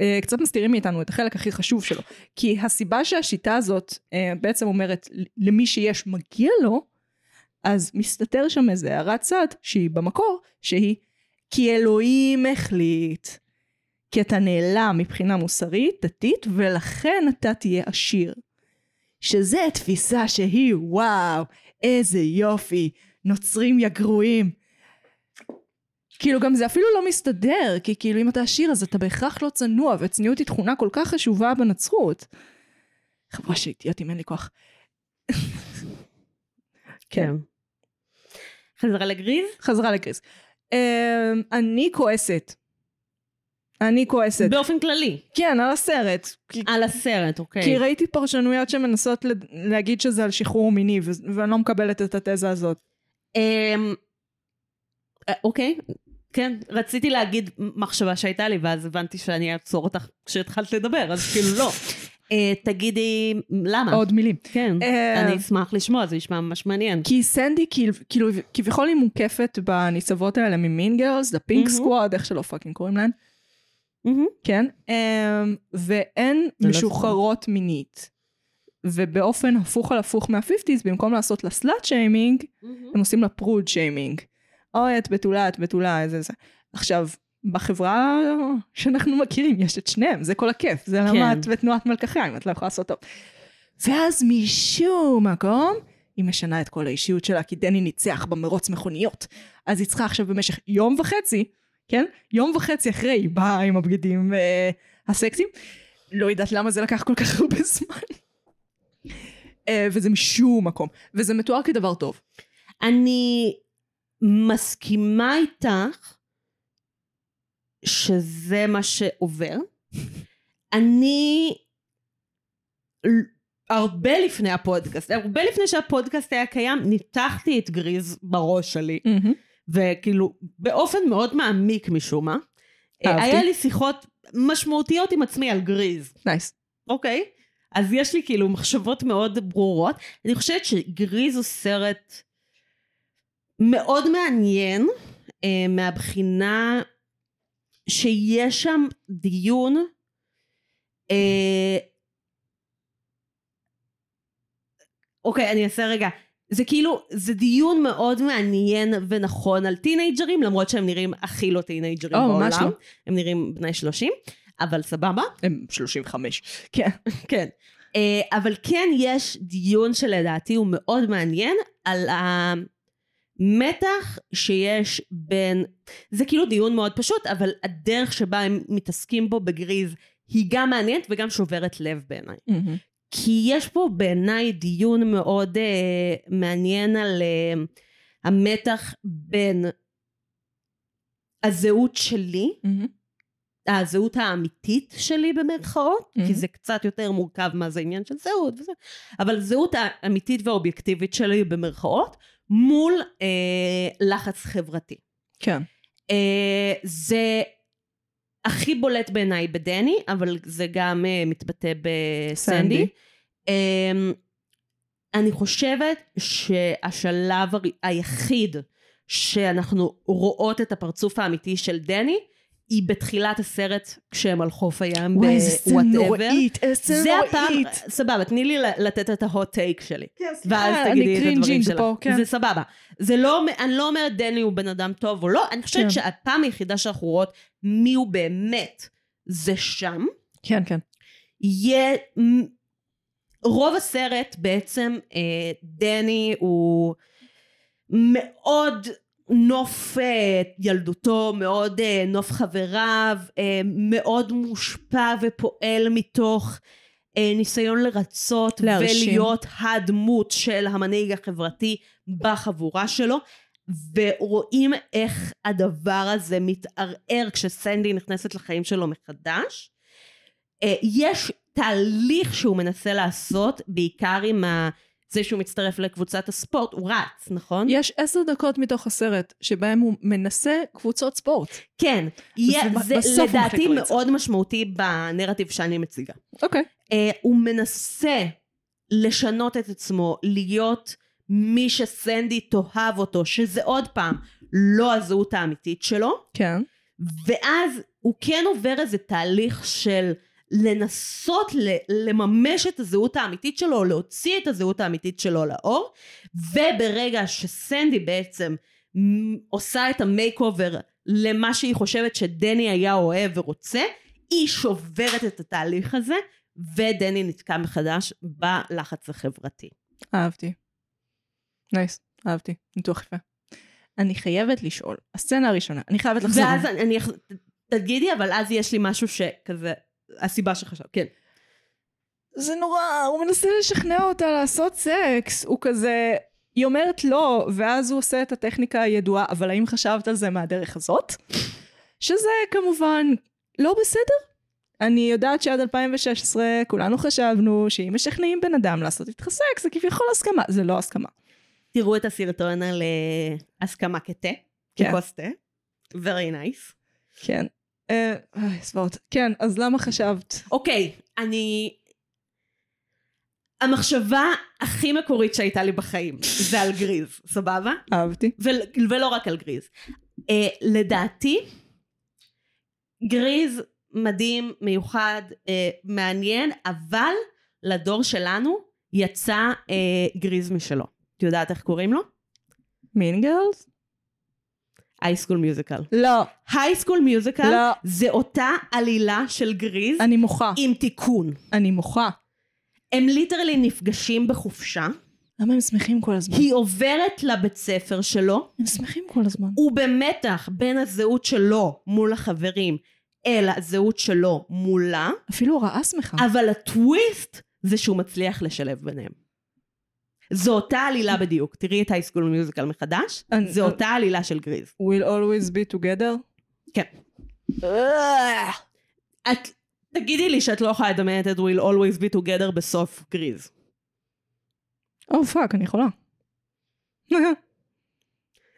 אה, קצת מסתירים מאיתנו את החלק הכי חשוב שלו. כי הסיבה שהשיטה הזאת אה, בעצם אומרת ל- למי שיש מגיע לו, אז מסתתר שם איזה הערת צד שהיא במקור, שהיא כי אלוהים החליט. כי אתה נעלם מבחינה מוסרית, דתית, ולכן אתה תהיה עשיר. שזה תפיסה שהיא, וואו, איזה יופי, נוצרים יא גרועים. כאילו גם זה אפילו לא מסתדר, כי כאילו אם אתה עשיר אז אתה בהכרח לא צנוע, וצניעות היא תכונה כל כך חשובה בנצרות. חברה של אידיוטים, אין לי כוח.
כן. חזרה לגריז?
חזרה לקריס. אמ, אני כועסת. אני כועסת.
באופן כללי.
כן, על הסרט. כי-
על הסרט, אוקיי.
כי ראיתי פרשנויות שמנסות לד- להגיד שזה על שחרור מיני, ו- ואני לא מקבלת את התזה הזאת.
אמ, אה, אוקיי, כן, רציתי להגיד מחשבה שהייתה לי, ואז הבנתי שאני אעצור אותך כשהתחלת לדבר, אז כאילו לא. אה, תגידי למה.
עוד מילים.
כן,
אה,
אני אשמח לשמוע, זה נשמע ממש מעניין.
כי סנדי כאילו- כאילו כביכול היא מוקפת בניצבות האלה ממין גרלס, הפינק
מהמם.
סקוואד, איך שלא פאקינג קוראים להן,
מהמם.
כן? אמ, והן
לא
משוחררות מינית. ובאופן הפוך על הפוך מהפיפטיז, במקום לעשות לה סלאט שיימינג, הם עושים לה פרוד שיימינג. אוי, את בתולה, את בתולה, איזה זה. עכשיו, בחברה שאנחנו מכירים יש את שניהם, זה כל הכיף. זה למה
כן.
את בתנועת מלקחיים, את לא יכולה לעשות טוב. ואז משום מקום, היא משנה את כל האישיות שלה, כי דני ניצח במרוץ מכוניות. אז היא צריכה עכשיו במשך יום וחצי, כן? יום וחצי אחרי היא באה עם הבגדים אה, הסקסיים. לא יודעת למה זה לקח כל כך הרבה זמן. אה, וזה משום מקום. וזה מתואר כדבר טוב.
אני מסכימה איתך שזה מה שעובר. אני הרבה לפני הפודקאסט, הרבה לפני שהפודקאסט היה קיים, ניתחתי את גריז בראש שלי. וכאילו באופן מאוד מעמיק משום מה.
אהבתי.
היה לי שיחות משמעותיות עם עצמי על גריז,
נייס.
אוקיי? אז יש לי כאילו מחשבות מאוד ברורות. אני חושבת שגריז הוא סרט מאוד מעניין אה, מהבחינה שיש שם דיון אה, אוקיי, אני אעשה רגע. זה כאילו, זה דיון מאוד מעניין ונכון על טינג'רים, למרות שהם נראים הכי לא טינג'רים
או,
בעולם.
ממש לא.
הם נראים בני 30, אבל סבבה.
הם 35. כן.
כן. אה, אבל כן יש דיון שלדעתי הוא מאוד מעניין על המתח שיש בין... זה כאילו דיון מאוד פשוט, אבל הדרך שבה הם מתעסקים בו בגריז היא גם מעניינת וגם שוברת לב בעיניי. כי יש פה בעיניי דיון מאוד אה, מעניין על אה, המתח בין הזהות שלי הזהות האמיתית שלי במרכאות,
Mhm.
כי זה קצת יותר מורכב מה זה עניין של זהות וזה, אבל זהות האמיתית והאובייקטיבית שלי במרכאות, מול אה, לחץ חברתי.
כן.
אה, זה הכי בולט בעיניי בדני, אבל זה גם אה, מתבטא
סנדי.
בסנדי. אה, אני חושבת שהשלב הר- היחיד שאנחנו רואות את הפרצוף האמיתי של דני, היא בתחילת הסרט כשהם על חוף הים
וואי, איזה סצנה
ב-whatever.
נוראית, איזה סצנה
זה הפעם,
נוראית.
אה, סבבה, תני לי ל- לתת את ההוט טייק שלי.
כן, סליחה,
ואז
אני
תגידי את הדברים
קרינג'ינג
שלך.
פה, כן.
זה סבבה. זה לא, אומר- אני לא אומרת דני הוא בן אדם טוב או לא, אני חושבת
כן.
שהפעם היחידה שאנחנו רואות מי הוא באמת, זה שם.
כן, כן.
יהיה... רוב הסרט בעצם אה, דני הוא מאוד נוף אה, ילדותו, מאוד אה, נוף חבריו, אה, מאוד מושפע ופועל מתוך אה, ניסיון לרצות
להרשים.
ולהיות הדמות של המנהיג החברתי בחבורה שלו. ורואים איך הדבר הזה מתערער כשסנדי נכנסת לחיים שלו מחדש. אה, יש תהליך שהוא מנסה לעשות, בעיקר עם ה... זה שהוא מצטרף לקבוצת הספורט, הוא רץ, נכון?
יש עשר דקות מתוך הסרט שבהם הוא מנסה קבוצות ספורט.
כן. יה,
וב-
זה
בסוף הוא מחליט
לדעתי
לו את זה.
מאוד משמעותי בנרטיב שאני מציגה.
אוקיי.
אה, הוא מנסה לשנות את עצמו, להיות מי שסנדי תאהב אותו, שזה עוד פעם לא הזהות האמיתית שלו,
כן.
ואז הוא כן עובר איזה תהליך של לנסות ל- לממש את הזהות האמיתית שלו, או להוציא את הזהות האמיתית שלו לאור, וברגע שסנדי בעצם מ- עושה את המייק אובר למה שהיא חושבת שדני היה אוהב ורוצה, היא שוברת את התהליך הזה, ודני נתקע מחדש בלחץ החברתי.
אהבתי. נייס. אהבתי. ניתוח יפה. אני חייבת לשאול. הסצנה הראשונה. אני חייבת לחזור.
ואז אני, אני אח- ת- תגידי, אבל אז יש לי משהו שכזה, הסיבה שחשב, כן.
זה נורא, הוא מנסה לשכנע אותה לעשות סקס. הוא כזה... היא אומרת לא, ואז הוא עושה את הטכניקה הידועה, אבל האם חשבת על זה מהדרך הזאת? שזה כמובן לא בסדר. אני יודעת שעד 2016 כולנו חשבנו שאם משכנעים בן אדם לעשות איתך סקס, זה כביכול הסכמה. זה לא הסכמה.
תראו את הסרטון על אה, הסכמה כתה,
כן.
ככוס תה. Very nice.
כן. אה, אוי, זוועות. כן, אז למה חשבת?
אוקיי, אני... המחשבה הכי מקורית שהייתה לי בחיים זה על גריז, סבבה?
אהבתי.
ול- ולא רק על גריז. אה, לדעתי, גריז מדהים, מיוחד, אה, מעניין, אבל לדור שלנו יצא אה, גריז משלו. את יודעת איך קוראים לו?
מין גרלס?
הייסקול מיוזיקל.
לא.
הייסקול מיוזיקל
לא.
זה אותה עלילה של גריז
אני מוחה.
עם תיקון.
אני מוחה.
הם ליטרלי נפגשים בחופשה,
למה הם שמחים כל הזמן?
היא עוברת לבית ספר שלו,
הם שמחים כל הזמן.
הוא במתח בין הזהות שלו מול החברים אל הזהות שלו מולה,
אפילו הרעה שמחה.
אבל הטוויסט זה שהוא מצליח לשלב ביניהם. זו אותה עלילה בדיוק, תראי את הייסקול מיוזיקל מחדש,
אני-
זו אותה עלילה של גריז.
We'll always be together?
כן. את, תגידי לי שאת לא יכולה לדמיין את Will always be together בסוף גריז.
או פאק, Oh, אני יכולה.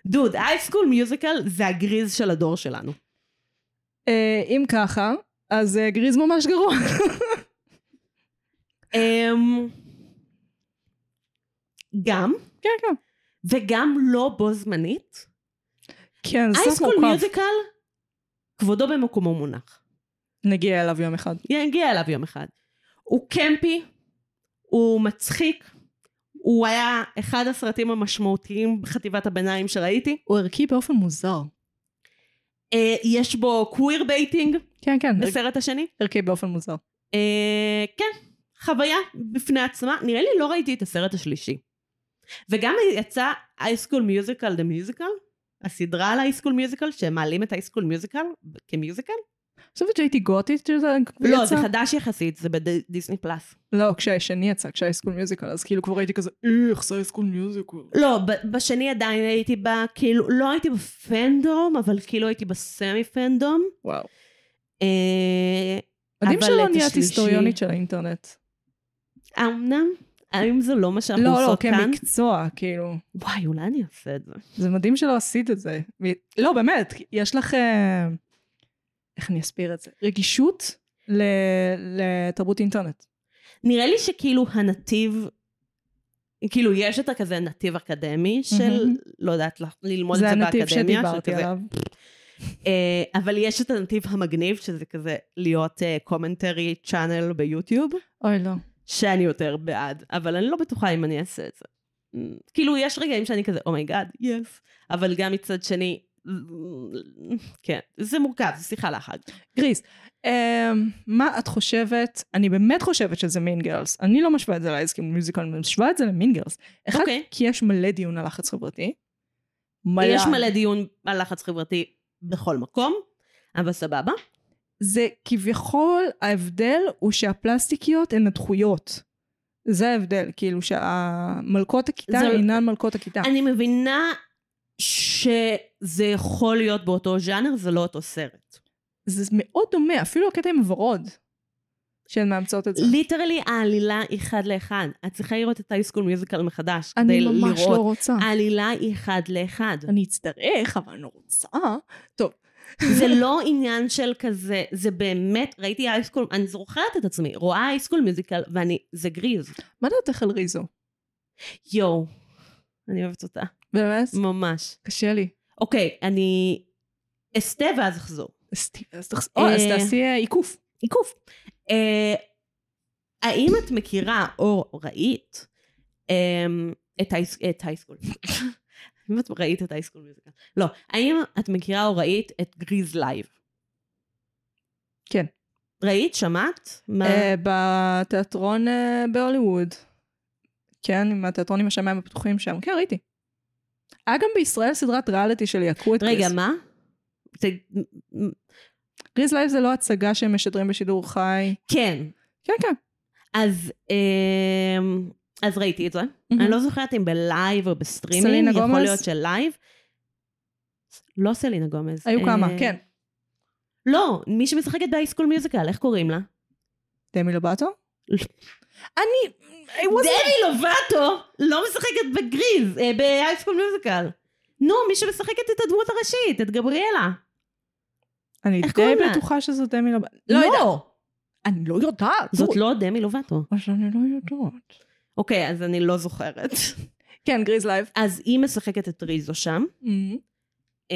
דוד, הייסקול מיוזיקל זה הגריז של הדור שלנו.
אה, אם ככה, אז אה, גריז ממש גרוע.
אמ, גם,
כן, כן.
וגם לא בו זמנית.
כן, זה סוף
הייסקול
מורכב.
מיוזיקל, כבודו במקומו מונח.
נגיע אליו יום אחד.
יגיע אליו יום אחד. הוא קמפי, הוא מצחיק, הוא היה אחד הסרטים המשמעותיים בחטיבת הביניים שראיתי.
הוא ערכי באופן מוזר.
אה, יש בו קוויר בייטינג
כן, כן, ערכ-
בסרט השני.
ערכי באופן מוזר.
אה, כן, חוויה בפני עצמה. נראה לי לא ראיתי את הסרט השלישי. וגם יצא הייסקול מיוזיקל דה מיוזיקל, הסדרה על הייסקול מיוזיקל, שמעלים את הייסקול מיוזיקל כמיוזיקל.
אני חושבת שהייתי גותית כשזה יצא.
לא, זה חדש יחסית, זה בדיסני פלאס.
לא, כשהשני יצא, כשהייסקול מיוזיקל, אז כאילו כבר הייתי כזה, איך זה הייסקול מיוזיקל?
לא, ב- בשני עדיין הייתי ב... כאילו, לא הייתי בפנדום, אבל כאילו הייתי בסמי פנדום.
וואו.
אה,
מדהים
אבל
שלא
את
נהיית
השלישי-
היסטוריונית של האינטרנט.
אמנם, האם זה לא מה שאנחנו
לא, לא,
עושות כאן?
כמקצוע, כאילו.
וואי, אולי אני אעשה את זה.
זה מדהים שלא עשית את זה. ו- לא, באמת, יש לך... אה, איך אני אסביר את זה? רגישות ל- לתרבות אינטרנט.
נראה לי שכאילו הנתיב, כאילו יש את הכזה נתיב אקדמי של,
מהמם.
לא יודעת, ל- ללמוד את
זה
זה
הנתיב
באקדמיה,
שדיברתי
שכזה,
עליו.
אה, אבל יש את הנתיב המגניב, שזה כזה להיות קומנטרי צ'אנל ביוטיוב,
אוי, לא.
שאני יותר בעד, אבל אני לא בטוחה אם אני אעשה את זה. אמ, כאילו, יש רגעים שאני כזה, אומייגאד, oh יס, אבל גם מצד שני, אמ, כן, זה מורכב, זו שיחה לאחד.
גריס, אה, מה את חושבת? אני באמת חושבת שזה מין גרלס. אני לא משווה את זה לאייסקים מיוזיקל, אני משווה את זה למין גרלס. אחד,
אוקיי.
כי יש מלא דיון על לחץ חברתי. מלא.
יש מלא דיון על לחץ חברתי בכל מקום, אבל סבבה.
זה כביכול, ההבדל הוא שהפלסטיקיות הן הדחויות. זה ההבדל, כאילו שהמלכות הכיתה
זה-
אינן מלכות הכיתה.
אני מבינה שזה יכול להיות באותו ז'אנר, זה לא אותו סרט.
זה מאוד דומה, אפילו הקטע עם הוורוד, שהן מאמצות את זה.
ליטרלי העלילה היא אחד לאחד. את צריכה לראות את הייסקול מיוזיקל מחדש.
אני
כדי
ממש
לראות.
לא רוצה.
העלילה היא אחד לאחד.
אני אצטרך, אבל אני לא רוצה. טוב,
זה לא עניין של כזה, זה באמת, ראיתי הייסקול, אני זוכרת את עצמי, רואה הייסקול מיוזיקל ואני, זה גריז.
מה דעתך על ריזו?
יואו, אני אוהבת אותה,
באמת?
ממש.
קשה לי.
אוקיי, אני אסטה ואז אחזור.
אז ת- אז תחס- או, אז
אה,
תעשי אה, עיקוף.
עיקוף. אה, האם את מכירה או ראית אה, את הייס- את הייסקול? האם את ראית את הייסקול מיוזיקל? לא. האם את מכירה או ראית את גריז לייב?
כן.
ראית? שמעת? מה?
אה, בתיאטרון אה, בהוליווד. כן, עם התיאטרון עם השמיים הפתוחים שם. כן, ראיתי. היה גם בישראל סדרת ריאליטי של יעקרו את
רגע,
גריז.
מה? זה-
גריז לייב זה לא הצגה שהם משדרים בשידור חי.
כן.
כן, כן.
אז אה, אז ראיתי את זה. אני לא זוכרת אם בלייב או
סלינה
בסטרימינג, יכול
גומז?
להיות שלייב. לא סלינה גומז.
היו
אה,
כמה, כן.
לא, מי שמשחקת בהייסקול מיוזיקל, איך קוראים לה?
דמי לובטו?
לא.
אני... I wasn't-
דני לובטו לא משחקת בגריז, אה, בהייסקול מיוזיקל. נו, מי שמשחקת את הדמות הראשית, את גבריאלה.
אני
איך
די
קוראים לה?
בטוחה שזו דמי לובטו. לא יודעת. אני לא יודעת.
זאת לא דמי לובטו.
או שאני לא יודעת.
אוקיי, אז אני לא זוכרת.
כן, גריז לייב.
אז היא משחקת את ריזו שם, אמ,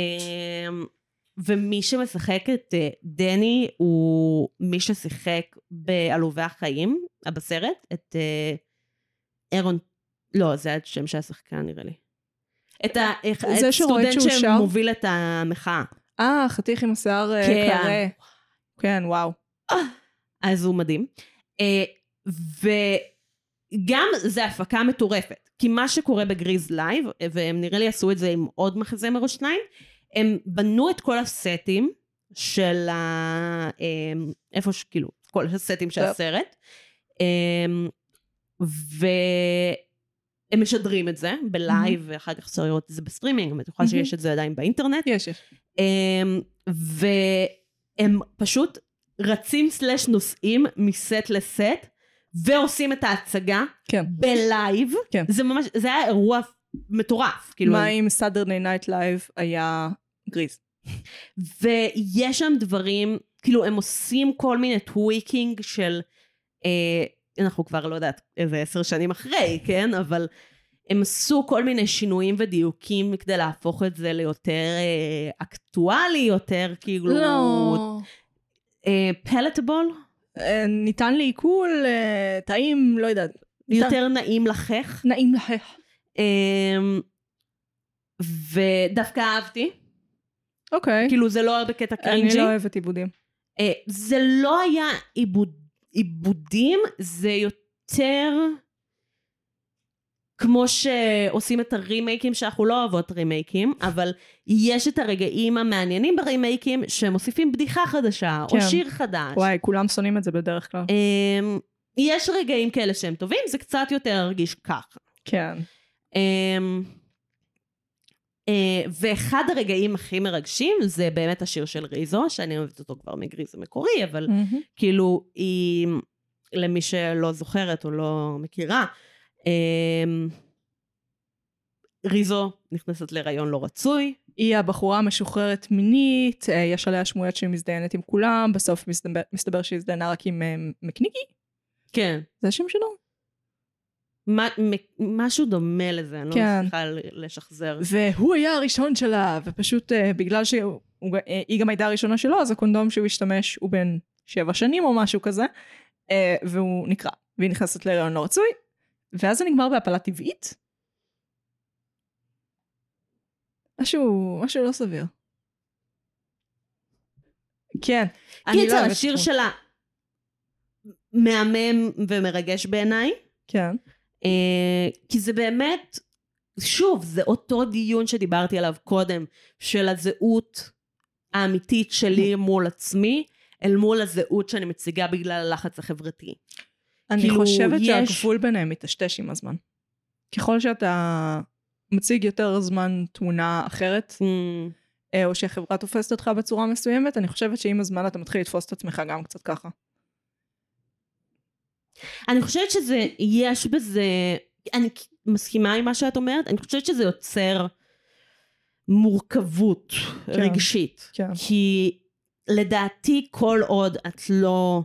ומי שמשחק את אה, דני הוא מי ששיחק בעלובי החיים, אה, בסרט, את אה, אירון... לא, זה השם של השחקן נראה לי. את ה- איך-
זה
את
שרואה
סטודנט
שהוא שר?
שמוביל את המחאה.
אה, חתיך עם השיער אה,
כן.
קרה. כן, וואו.
אז הוא מדהים. אה, וגם זה הפקה מטורפת. כי מה שקורה בגריז לייב, אה, והם נראה לי עשו את זה עם עוד מחזמר או שניים, הם בנו את כל הסטים של ה... אה, איפה ש... כאילו, כל הסטים של
טוב.
הסרט. אה, והם משדרים את זה בלייב, ואחר כך אפשר לראות את זה בסטרימינג, אני בטוחה
מהמם.
שיש את זה עדיין באינטרנט.
יש, יש.
אמ, והם פשוט רצים סלש נוסעים מסט לסט ועושים את ההצגה
כן.
בלייב.
כן.
זה ממש, זה היה אירוע מטורף. כאילו,
מה אם סאדרני נייט לייב היה גריז?
ויש שם דברים, כאילו הם עושים כל מיני טוויקינג של, אה, אנחנו כבר לא יודעת איזה עשר שנים אחרי, כן? אבל הם עשו כל מיני שינויים ודיוקים כדי להפוך את זה ליותר אה, אקטואלי, יותר כאילו...
לא.
פלטבול,
אה, ניתן לעיכול, אה, טעים, לא יודעת.
יותר נעים לחך.
נעים לחך.
אמ, ודווקא אהבתי,
אוקיי.
כאילו זה לא היה בקטע
אני
קרינג'י.
לא אוהבת עיבודים.
אה, זה לא היה עיבוד- עיבודים, זה יותר כמו שעושים את הרימייקים, שאנחנו לא אוהבות רימייקים, אבל יש את הרגעים המעניינים ברימייקים, שמוסיפים בדיחה חדשה,
כן.
או שיר חדש.
וואי, כולם שונאים את זה בדרך כלל.
אמ, יש רגעים כאלה שהם טובים, זה קצת יותר הרגיש ככה.
כן.
אמ, אה, ואחד הרגעים הכי מרגשים זה באמת השיר של ריזו, שאני אוהבת אותו כבר מגריז המקורי, אבל כאילו היא, למי שלא זוכרת או לא מכירה, אמ, ריזו נכנסת להיריון לא רצוי,
היא הבחורה המשוחררת מינית, אה, יש עליה שמועות שהיא מזדיינת עם כולם, בסוף מסתבר, מסתבר שהיא הזדיינה רק עם אה, מקניקי?
כן,
זה השם שלו?
מה- מ- משהו דומה לזה, אני לא
כן.
מצליחה ל- לשחזר.
והוא היה הראשון שלה, ופשוט אה, בגלל שהיא גם הייתה הראשונה שלו, אז הקונדום שהוא השתמש הוא בן שבע שנים או משהו כזה, אה, והוא נקרע, והיא נכנסת להיריון לא רצוי, ואז זה נגמר בהפלה טבעית? משהו, משהו לא סביר. כן. אני לא
קיצר,
אוהבת
השיר
אותו.
שלה מהמם ומרגש בעיניי.
כן.
אה, כי זה באמת, שוב, זה אותו דיון שדיברתי עליו קודם, של הזהות האמיתית שלי מול עצמי, אל מול הזהות שאני מציגה בגלל הלחץ החברתי.
אני
כאילו,
חושבת
יש-
שהגבול ביניהם מיטשטש עם הזמן. ככל שאתה מציג יותר זמן תמונה אחרת, אה, או שהחברה תופסת אותך בצורה מסוימת, אני חושבת שעם הזמן אתה מתחיל לתפוס את עצמך גם קצת ככה.
אני חושבת שזה, יש בזה, אני מסכימה עם מה שאת אומרת, אני חושבת שזה יוצר מורכבות
כן.
רגשית.
כן.
כי לדעתי כל עוד את לא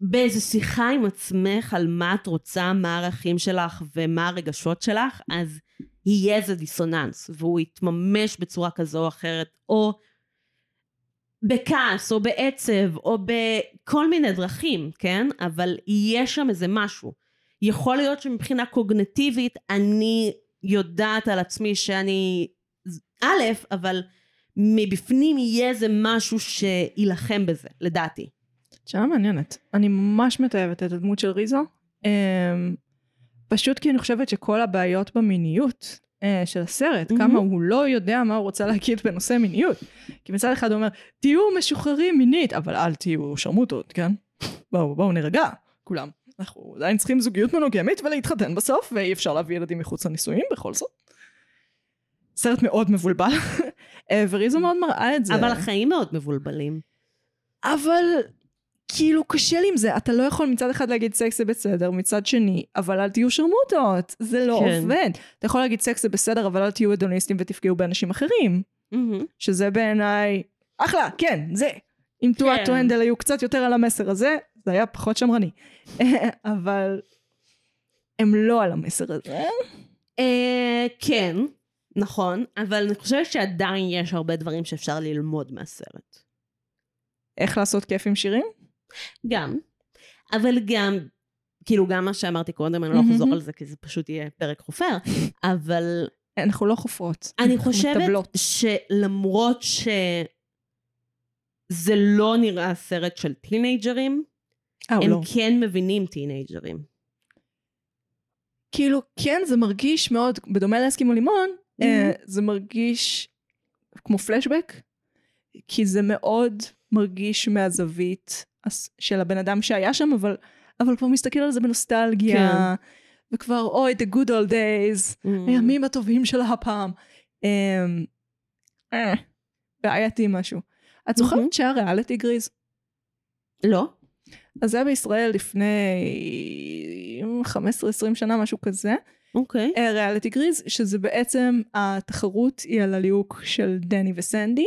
באיזו שיחה עם עצמך על מה את רוצה, מה הערכים שלך ומה הרגשות שלך, אז יהיה איזה דיסוננס, והוא יתממש בצורה כזו או אחרת, או בכעס, או בעצב, או בכל מיני דרכים, כן? אבל יהיה שם איזה משהו. יכול להיות שמבחינה קוגנטיבית אני יודעת על עצמי שאני א', אבל מבפנים יהיה איזה משהו שיילחם בזה, לדעתי.
שאלה מעניינת. אני ממש מתעבת את הדמות של ריזו. אמ, פשוט כי אני חושבת שכל הבעיות במיניות אה, של הסרט,
מהמם.
כמה הוא לא יודע מה הוא רוצה להגיד בנושא מיניות. כי מצד אחד הוא אומר, תהיו משוחררים מינית, אבל אל תהיו שרמוטות, כן? בואו, בואו נרגע, כולם. אנחנו עדיין צריכים זוגיות מנוגמית ולהתחתן בסוף, ואי אפשר להביא ילדים מחוץ לנישואים בכל זאת. סרט מאוד מבולבל, אה, וריזו מאוד מראה את זה.
אבל החיים מאוד מבולבלים.
אבל כאילו קשה לי עם זה, אתה לא יכול מצד אחד להגיד סקס זה בסדר, מצד שני, אבל אל תהיו שרמוטות, זה לא
כן.
עובד. אתה יכול להגיד סקס זה בסדר, אבל אל תהיו הדוניסטים ותפגעו באנשים אחרים, שזה בעיניי אחלה, כן, זה. אם תואת
כן.
טואנדל היו קצת יותר על המסר הזה, זה היה פחות שמרני. אבל הם לא על המסר הזה.
אה, כן, נכון, אבל אני חושבת שעדיין יש הרבה דברים שאפשר ללמוד מהסרט.
איך לעשות כיף עם שירים?
גם, אבל גם, כאילו גם מה שאמרתי קודם, אני לא
מהמם.
אחזור על זה כי זה פשוט יהיה פרק חופר, אבל
אנחנו לא חופרות.
אני
אנחנו
חושבת
מטבלות.
שלמרות שזה לא נראה סרט של טינג'רים,
אה,
הם
לא.
כן מבינים טינג'רים.
כאילו, כן, זה מרגיש מאוד, בדומה לאסקימו לימון, אה, זה מרגיש כמו פלשבק, כי זה מאוד מרגיש מהזווית הס- של הבן אדם שהיה שם, אבל, אבל כבר מסתכל על זה בנוסטלגיה, וכבר, אוי, the good old days,
Mm.
הימים הטובים של הפעם. אמ, אה, בעייתי משהו. את
מהמם.
זוכרת שהיה ריאליטי גריז?
לא?
אז זה היה בישראל לפני 15-20 שנה, משהו כזה.
אוקיי.
אה, ריאליטי גריז, שזה בעצם התחרות היא על הליהוק של דני וסנדי,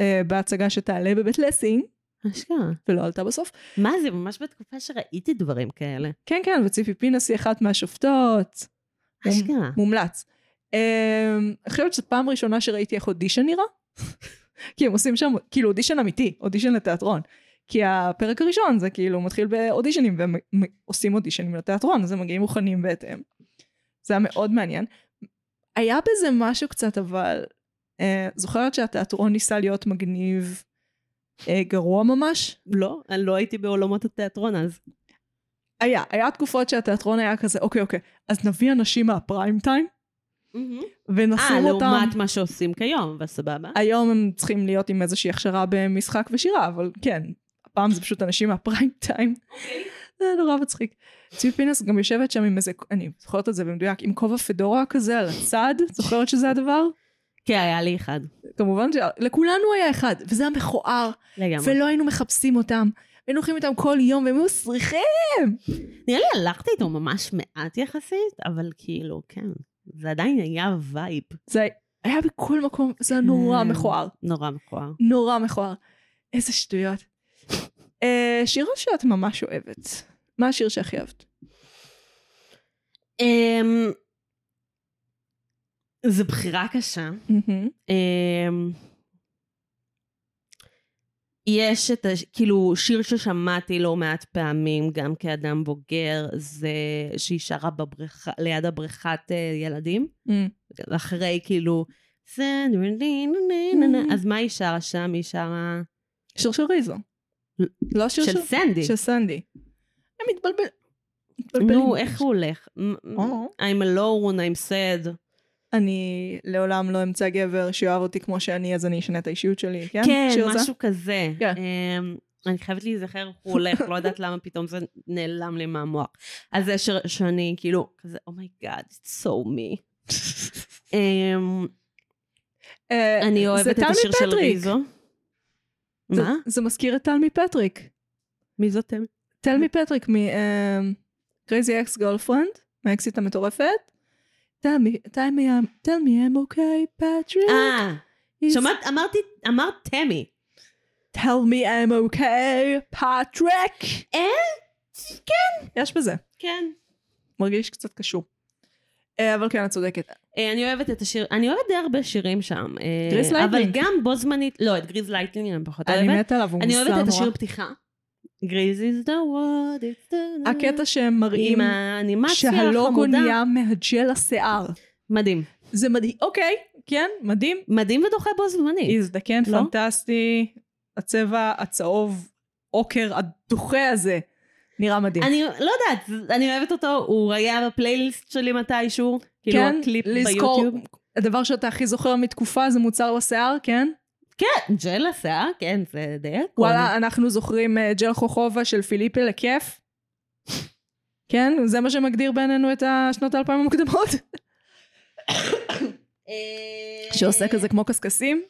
אה, בהצגה שתעלה בבית לסינג,
אשכרה.
ולא עלתה בסוף.
מה זה, ממש בתקופה שראיתי דברים כאלה.
כן, כן, וציפי פינס היא אחת מהשופטות.
אשכרה.
מומלץ. אה, אני חושבת שזו פעם ראשונה שראיתי איך אודישן נראה. כי הם עושים שם, כאילו אודישן אמיתי, אודישן לתיאטרון. כי הפרק הראשון זה כאילו מתחיל באודישנים, והם מ- עושים אודישנים לתיאטרון, אז הם מגיעים מוכנים בהתאם. זה היה מאוד מעניין. היה בזה משהו קצת, אבל אה, זוכרת שהתיאטרון ניסה להיות מגניב אה, גרוע ממש?
לא, אני לא הייתי בעולמות התיאטרון אז.
היה, היה תקופות שהתיאטרון היה כזה, אוקיי, אוקיי, אז נביא אנשים מהפריים טיים,
אה,
ונשים אותם...
לעומת מה שעושים כיום, וסבבה.
היום הם צריכים להיות עם איזושהי הכשרה במשחק ושירה, אבל כן, הפעם זה פשוט אנשים מהפריים טיים. זה נורא מצחיק. ציפי פינס גם יושבת שם עם איזה, אני זוכרת את זה במדויק, עם כובע פדורה כזה על הצד, זוכרת שזה הדבר?
כן, היה לי אחד.
כמובן שלכולנו היה אחד, וזה היה מכוער,
לגמרי.
ולא היינו מחפשים אותם. היינו הולכים איתם כל יום, והם היו סריחים.
נראה לי הלכתי איתו ממש מעט יחסית, אבל כאילו, כן. זה עדיין היה וייב.
זה היה בכל מקום, זה היה נורא
כן.
מכוער.
נורא מכוער.
נורא מכוער. איזה שטויות. אה, שיר שאת ממש אוהבת. מה השיר שהכי אהבת? אה,
אמ, זו בחירה קשה. אמ, יש את, הש- כאילו, שיר ששמעתי לא מעט פעמים, גם כאדם בוגר, זה שהיא שרה בבריכה, ליד הבריכת אה, ילדים.
Mm.
אחרי, כאילו, זה- אז מה היא שרה שם? היא שרה...
שיר של ריזו. לא שיר
של סנדי.
של סנדי. הם מתבלבל- מתבלבלים.
נו, איך הוא הולך? מ-
או.
I'm alone, I'm sad.
אני לעולם לא אמצא גבר שאוהב אותי כמו שאני, אז אני אשנה את האישיות שלי. כן,
כן,
שיר זה?
משהו כזה.
כן.
אמ, אני חייבת להיזכר איך הוא הולך, לא יודעת למה פתאום זה נעלם לי מהמוח. אז זה ש- שאני כאילו, כזה, אומייגאד, it's so me. אמ,
אה,
אני
זה
אוהבת את
טל
השיר של
מפטריק.
ריזו.
זה-
מה?
זה מזכיר את טל מפטריק.
מי זאת הם?
טל מפטריק אה, מ-Crazy Ex Girlfriend, מהאקסיט המטורפת. Tell me, tell me, I'm- tell me I'm okay, Patrick.
אה,
He's-
שמעת, אמרתי, אמרת תמי.
Tell me I'm okay, Patrick.
אה?
יש בזה.
כן.
מרגיש קצת קשור. אה, אבל כן, את צודקת.
אה, אני אוהבת את השיר, אני אוהבת די הרבה שירים שם. אה,
גריז לייטנינג.
אבל גם בו זמנית, לא, את גריז לייטלינג אני פחות
אני
אוהבת.
מתה עליו, הוא
אני
מוזר
אוהבת את השיר
נורא.
פתיחה. גריז is the word, it's the...
הקטע שהם מראים
עם האנימציה
שהלוגו
החמודה.
נהיה מהג'ל השיער.
מדהים.
זה מדהים. אוקיי, כן, מדהים.
מדהים ודוחה בו זמנית.
הזדקן
לא?
פנטסטי, הצבע הצהוב, עוקר הדוחה הזה, נראה מדהים.
אני לא יודעת, אני אוהבת אותו, הוא היה בפלייליסט שלי מתישהו. כאילו
כן,
הקליפ
לזכור-
ביוטיוב.
הדבר שאתה הכי זוכר מתקופה זה מוצר לשיער, כן?
כן, ג'ל השיער, כן, זה די אקוני.
וואלה, אנחנו זוכרים אה, ג'ל חוכובה של פיליפה לכיף. כן, זה מה שמגדיר בינינו את השנות האלפיים המוקדמות.
אה,
שעושה כזה כמו קשקשים.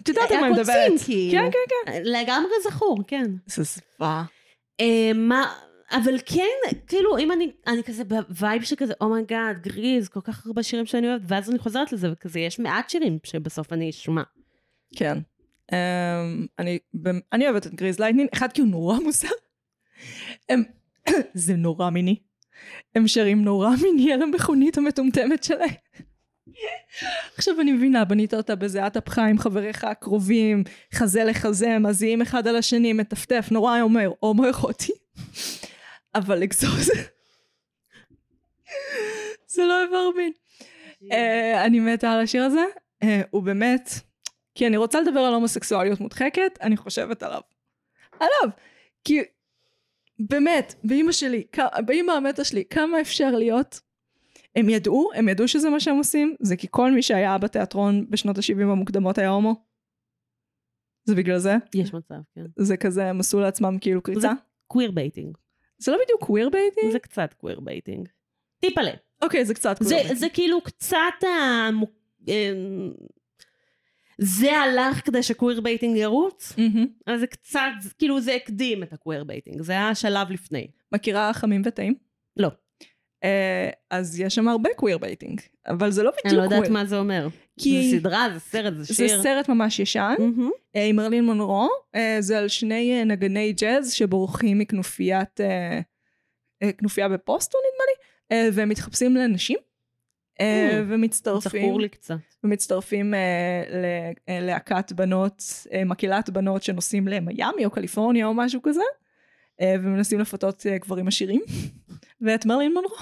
את יודעת על מה אני
היה
מדברת.
קוצים, כאילו.
כן, כן, כן.
לגמרי זכור, כן.
איזה זוועה.
אה, מה, אבל כן, כאילו, אם אני, אני כזה בווייב שכזה, "Oh אומייגאד, גריז, כל כך הרבה שירים שאני אוהבת, ואז אני חוזרת לזה, וכזה, יש מעט שירים שבסוף אני אשמע.
כן. Um, אני, במ- אני אוהבת את גריז לייטנין, אחד כי הוא נורא מוזר. הם, זה נורא מיני. הם שרים נורא מיני על המכונית המטומטמת שלהם. עכשיו אני מבינה, בנית אותה בזיעת אפך עם חבריך הקרובים, חזה לחזה, מזיעים אחד על השני, מטפטף, נורא אומר, הומואירוטי. אבל אקזוז... זה לא איבר מין. אה, אני מתה על השיר הזה, אה, הוא באמת, כי אני רוצה לדבר על הומוסקסואליות מודחקת, אני חושבת עליו. עליו! כי באמת, באימא שלי, כ- באימא המתה שלי, כמה אפשר להיות? הם ידעו, הם ידעו שזה מה שהם עושים, זה כי כל מי שהיה בתיאטרון בשנות ה-70 המוקדמות היה הומו. זה בגלל זה?
יש מצב, כן.
זה כזה, הם עשו לעצמם כאילו
זה
קריצה?
קוויר בייטינג.
זה לא בדיוק קוויר בייטינג?
זה קצת קוויר בייטינג. טיפלה.
אוקיי, זה קצת
זה,
קוויר בייטינג.
זה כאילו קצת ה... אמ, זה הלך כדי שקוויר בייטינג ירוץ,
מהמם.
אז זה קצת, כאילו זה הקדים את הקוויר בייטינג, זה היה השלב לפני.
מכירה חמים וטעים?
לא.
אה, אז יש שם הרבה קוויר בייטינג, אבל זה לא בדיוק
אני לא
קוויר.
יודעת מה זה אומר.
כי-
זה סדרה, זה סרט, זה
זה
שיר.
סרט ממש ישן,
מהמם.
אה, עם מרלין מונרו, אה, זה על שני אה, נגני ג'אז שבורחים מכנופיית, אה, אה, כנופיה בפוסטון נדמה לי, אה, והם מתחפשים לנשים, אה,
Mm,
ומצטרפים,
זכור לי קצת.
ומצטרפים אה, ל- אה, להקת בנות, אה, מקהלת בנות שנוסעים למיאמי או קליפורניה או משהו כזה, אה, ומנסים לפתות אה, גברים עשירים, ואת מרלין מונרו.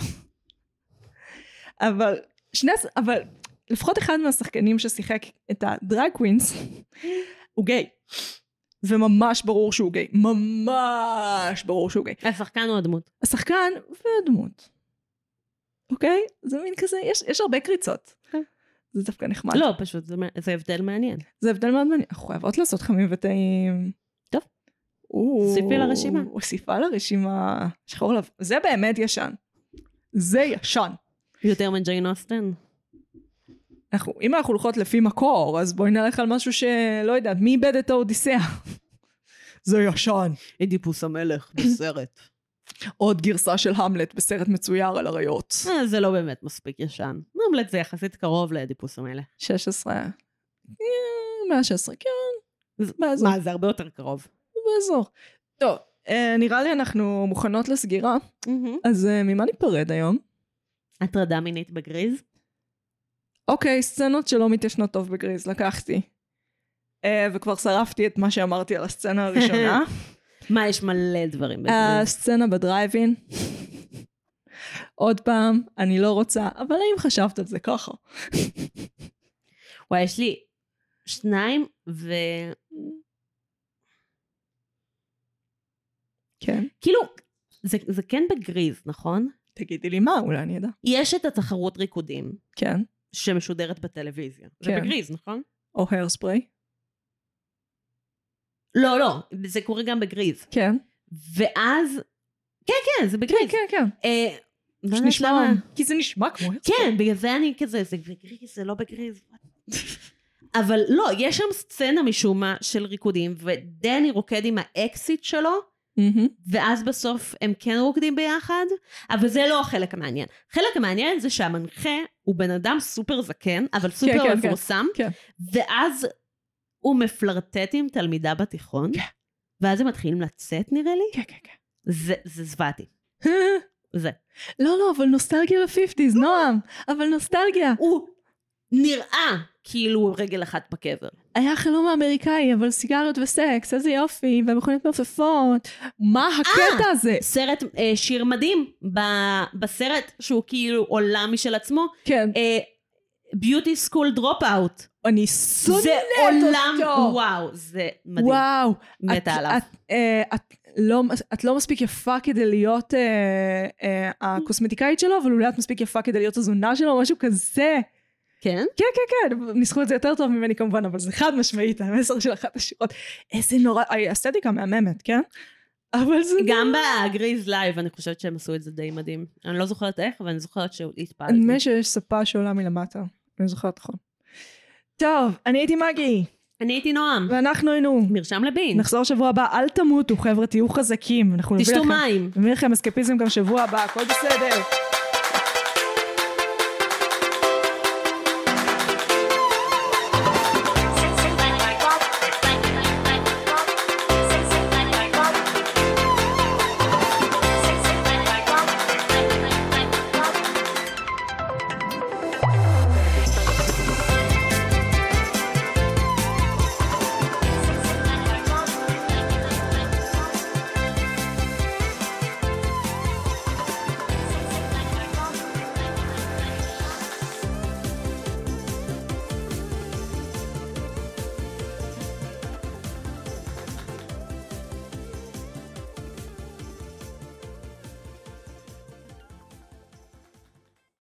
אבל, שני, הש- אבל לפחות אחד מהשחקנים ששיחק את הדרג קווינס, הוא גיי. וממש ברור שהוא גיי. ממש ברור שהוא גיי.
השחקן הוא הדמות.
השחקן והדמות. אוקיי? זה מין כזה, יש, יש הרבה קריצות.
כן.
זה דווקא נחמד.
לא, פשוט זה מע- זה הבדל מעניין.
זה הבדל מאוד מעניין. אנחנו חייבות לעשות חמים וטעים.
טוב.
או,
הוסיפי לרשימה.
הוסיפה לרשימה. שחור לב. זה באמת ישן. זה ישן.
יותר מג'יין אוסטן.
אנחנו, אם אנחנו הולכות לפי מקור, אז בואי נלך על משהו שלא יודעת, מי איבד את האודיסאה? זה ישן.
אדיפוס המלך בסרט.
עוד גרסה של המלט בסרט מצויר על אריות.
זה לא באמת מספיק ישן. המלט זה יחסית קרוב לאדיפוס המלך.
16. אה, 116, כן.
זה-
באזור.
מה, זה הרבה יותר קרוב.
באזור. טוב, אה, נראה לי אנחנו מוכנות לסגירה, אז אה, ממה ניפרד היום?
הטרדה מינית בגריז?
אוקיי, סצנות שלא מתיישנות טוב בגריז, לקחתי. אה, וכבר שרפתי את מה שאמרתי על הסצנה הראשונה. אה,
מה, יש מלא דברים בגריז.
הסצנה בדרייבין. עוד פעם, אני לא רוצה, אבל האם חשבת על זה ככה?
וואי, יש לי שניים, וכאילו,
כן.
כאילו, זה זה כן בגריז, נכון?
תגידי לי מה, אולי אני אדע.
יש את התחרות ריקודים
כן.
שמשודרת בטלוויזיה. זה
כן.
בגריז, נכון?
או הרספרי.
לא, לא, זה קורה גם בגריז.
כן.
ואז... כן, כן, זה
כן,
בגריז.
כן, כן.
אה, לא
פשוט
יודעת
נשמע...
למה.
כי זה נשמע כמו הרספרי.
כן, בגלל זה אני כזה, זה בגריז, זה לא בגריז. אבל לא, יש שם סצנה משום מה של ריקודים, ודני רוקד עם האקסיט שלו,
מהמם.
ואז בסוף הם כן רוקדים ביחד, אבל זה לא החלק המעניין. החלק המעניין זה שהמנחה הוא בן אדם סופר זקן, אבל סופר
כן, כן.
מפורסם,
כן.
ואז הוא מפלרטט עם תלמידה בתיכון,
כן.
ואז הם מתחילים לצאת נראה לי,
כן, כן, כן.
זה, זה זוועתי. זה.
לא, לא, אבל נוסטלגיה לפיפטיז, נועם. אבל נוסטלגיה.
הוא נראה כאילו הוא רגל אחת בקבר.
היה חלום האמריקאי, אבל סיגריות וסקס, איזה יופי, והמכוניות מעופפות. מה
אה!
הקטע הזה?
סרט, אה, שיר מדהים ב- בסרט שהוא כאילו עולם משל עצמו, אה,
כן.
ביוטי סקול דרופ אאוט.
אני
זה
שונאת
עולם,
אותו.
וואו, זה מדהים.
וואו.
מתה
את-
עליו.
את, אה, את לא- את לא מספיק יפה כדי להיות אה, אה, הקוסמטיקאית שלו, אבל אולי את מספיק יפה כדי להיות הזונה שלו, משהו כזה.
כן?
כן, כן, כן, ניסחו את זה יותר טוב ממני כמובן, אבל זה חד משמעית, המסר של אחת השורות. איזה נורא, אה, אסתטיקה מהממת, כן? אבל זה...
גם בגריז לייב אני חושבת שהם עשו את זה די מדהים. אני לא זוכרת איך, אבל אני זוכרת שהתפעלתי.
נדמה שיש ספה שעולה מלמטה, אני זוכרת נכון. טוב, אני הייתי מגי,
אני הייתי נועם.
ואנחנו היינו.
מרשם לבין.
נחזור שבוע הבא, אל תמותו חבר'ה, תהיו חזקים. אנחנו נביא
תשתו
לכם-
מים.
נביא לכם אסקפיזם גם שבוע הבא, הכל בסדר.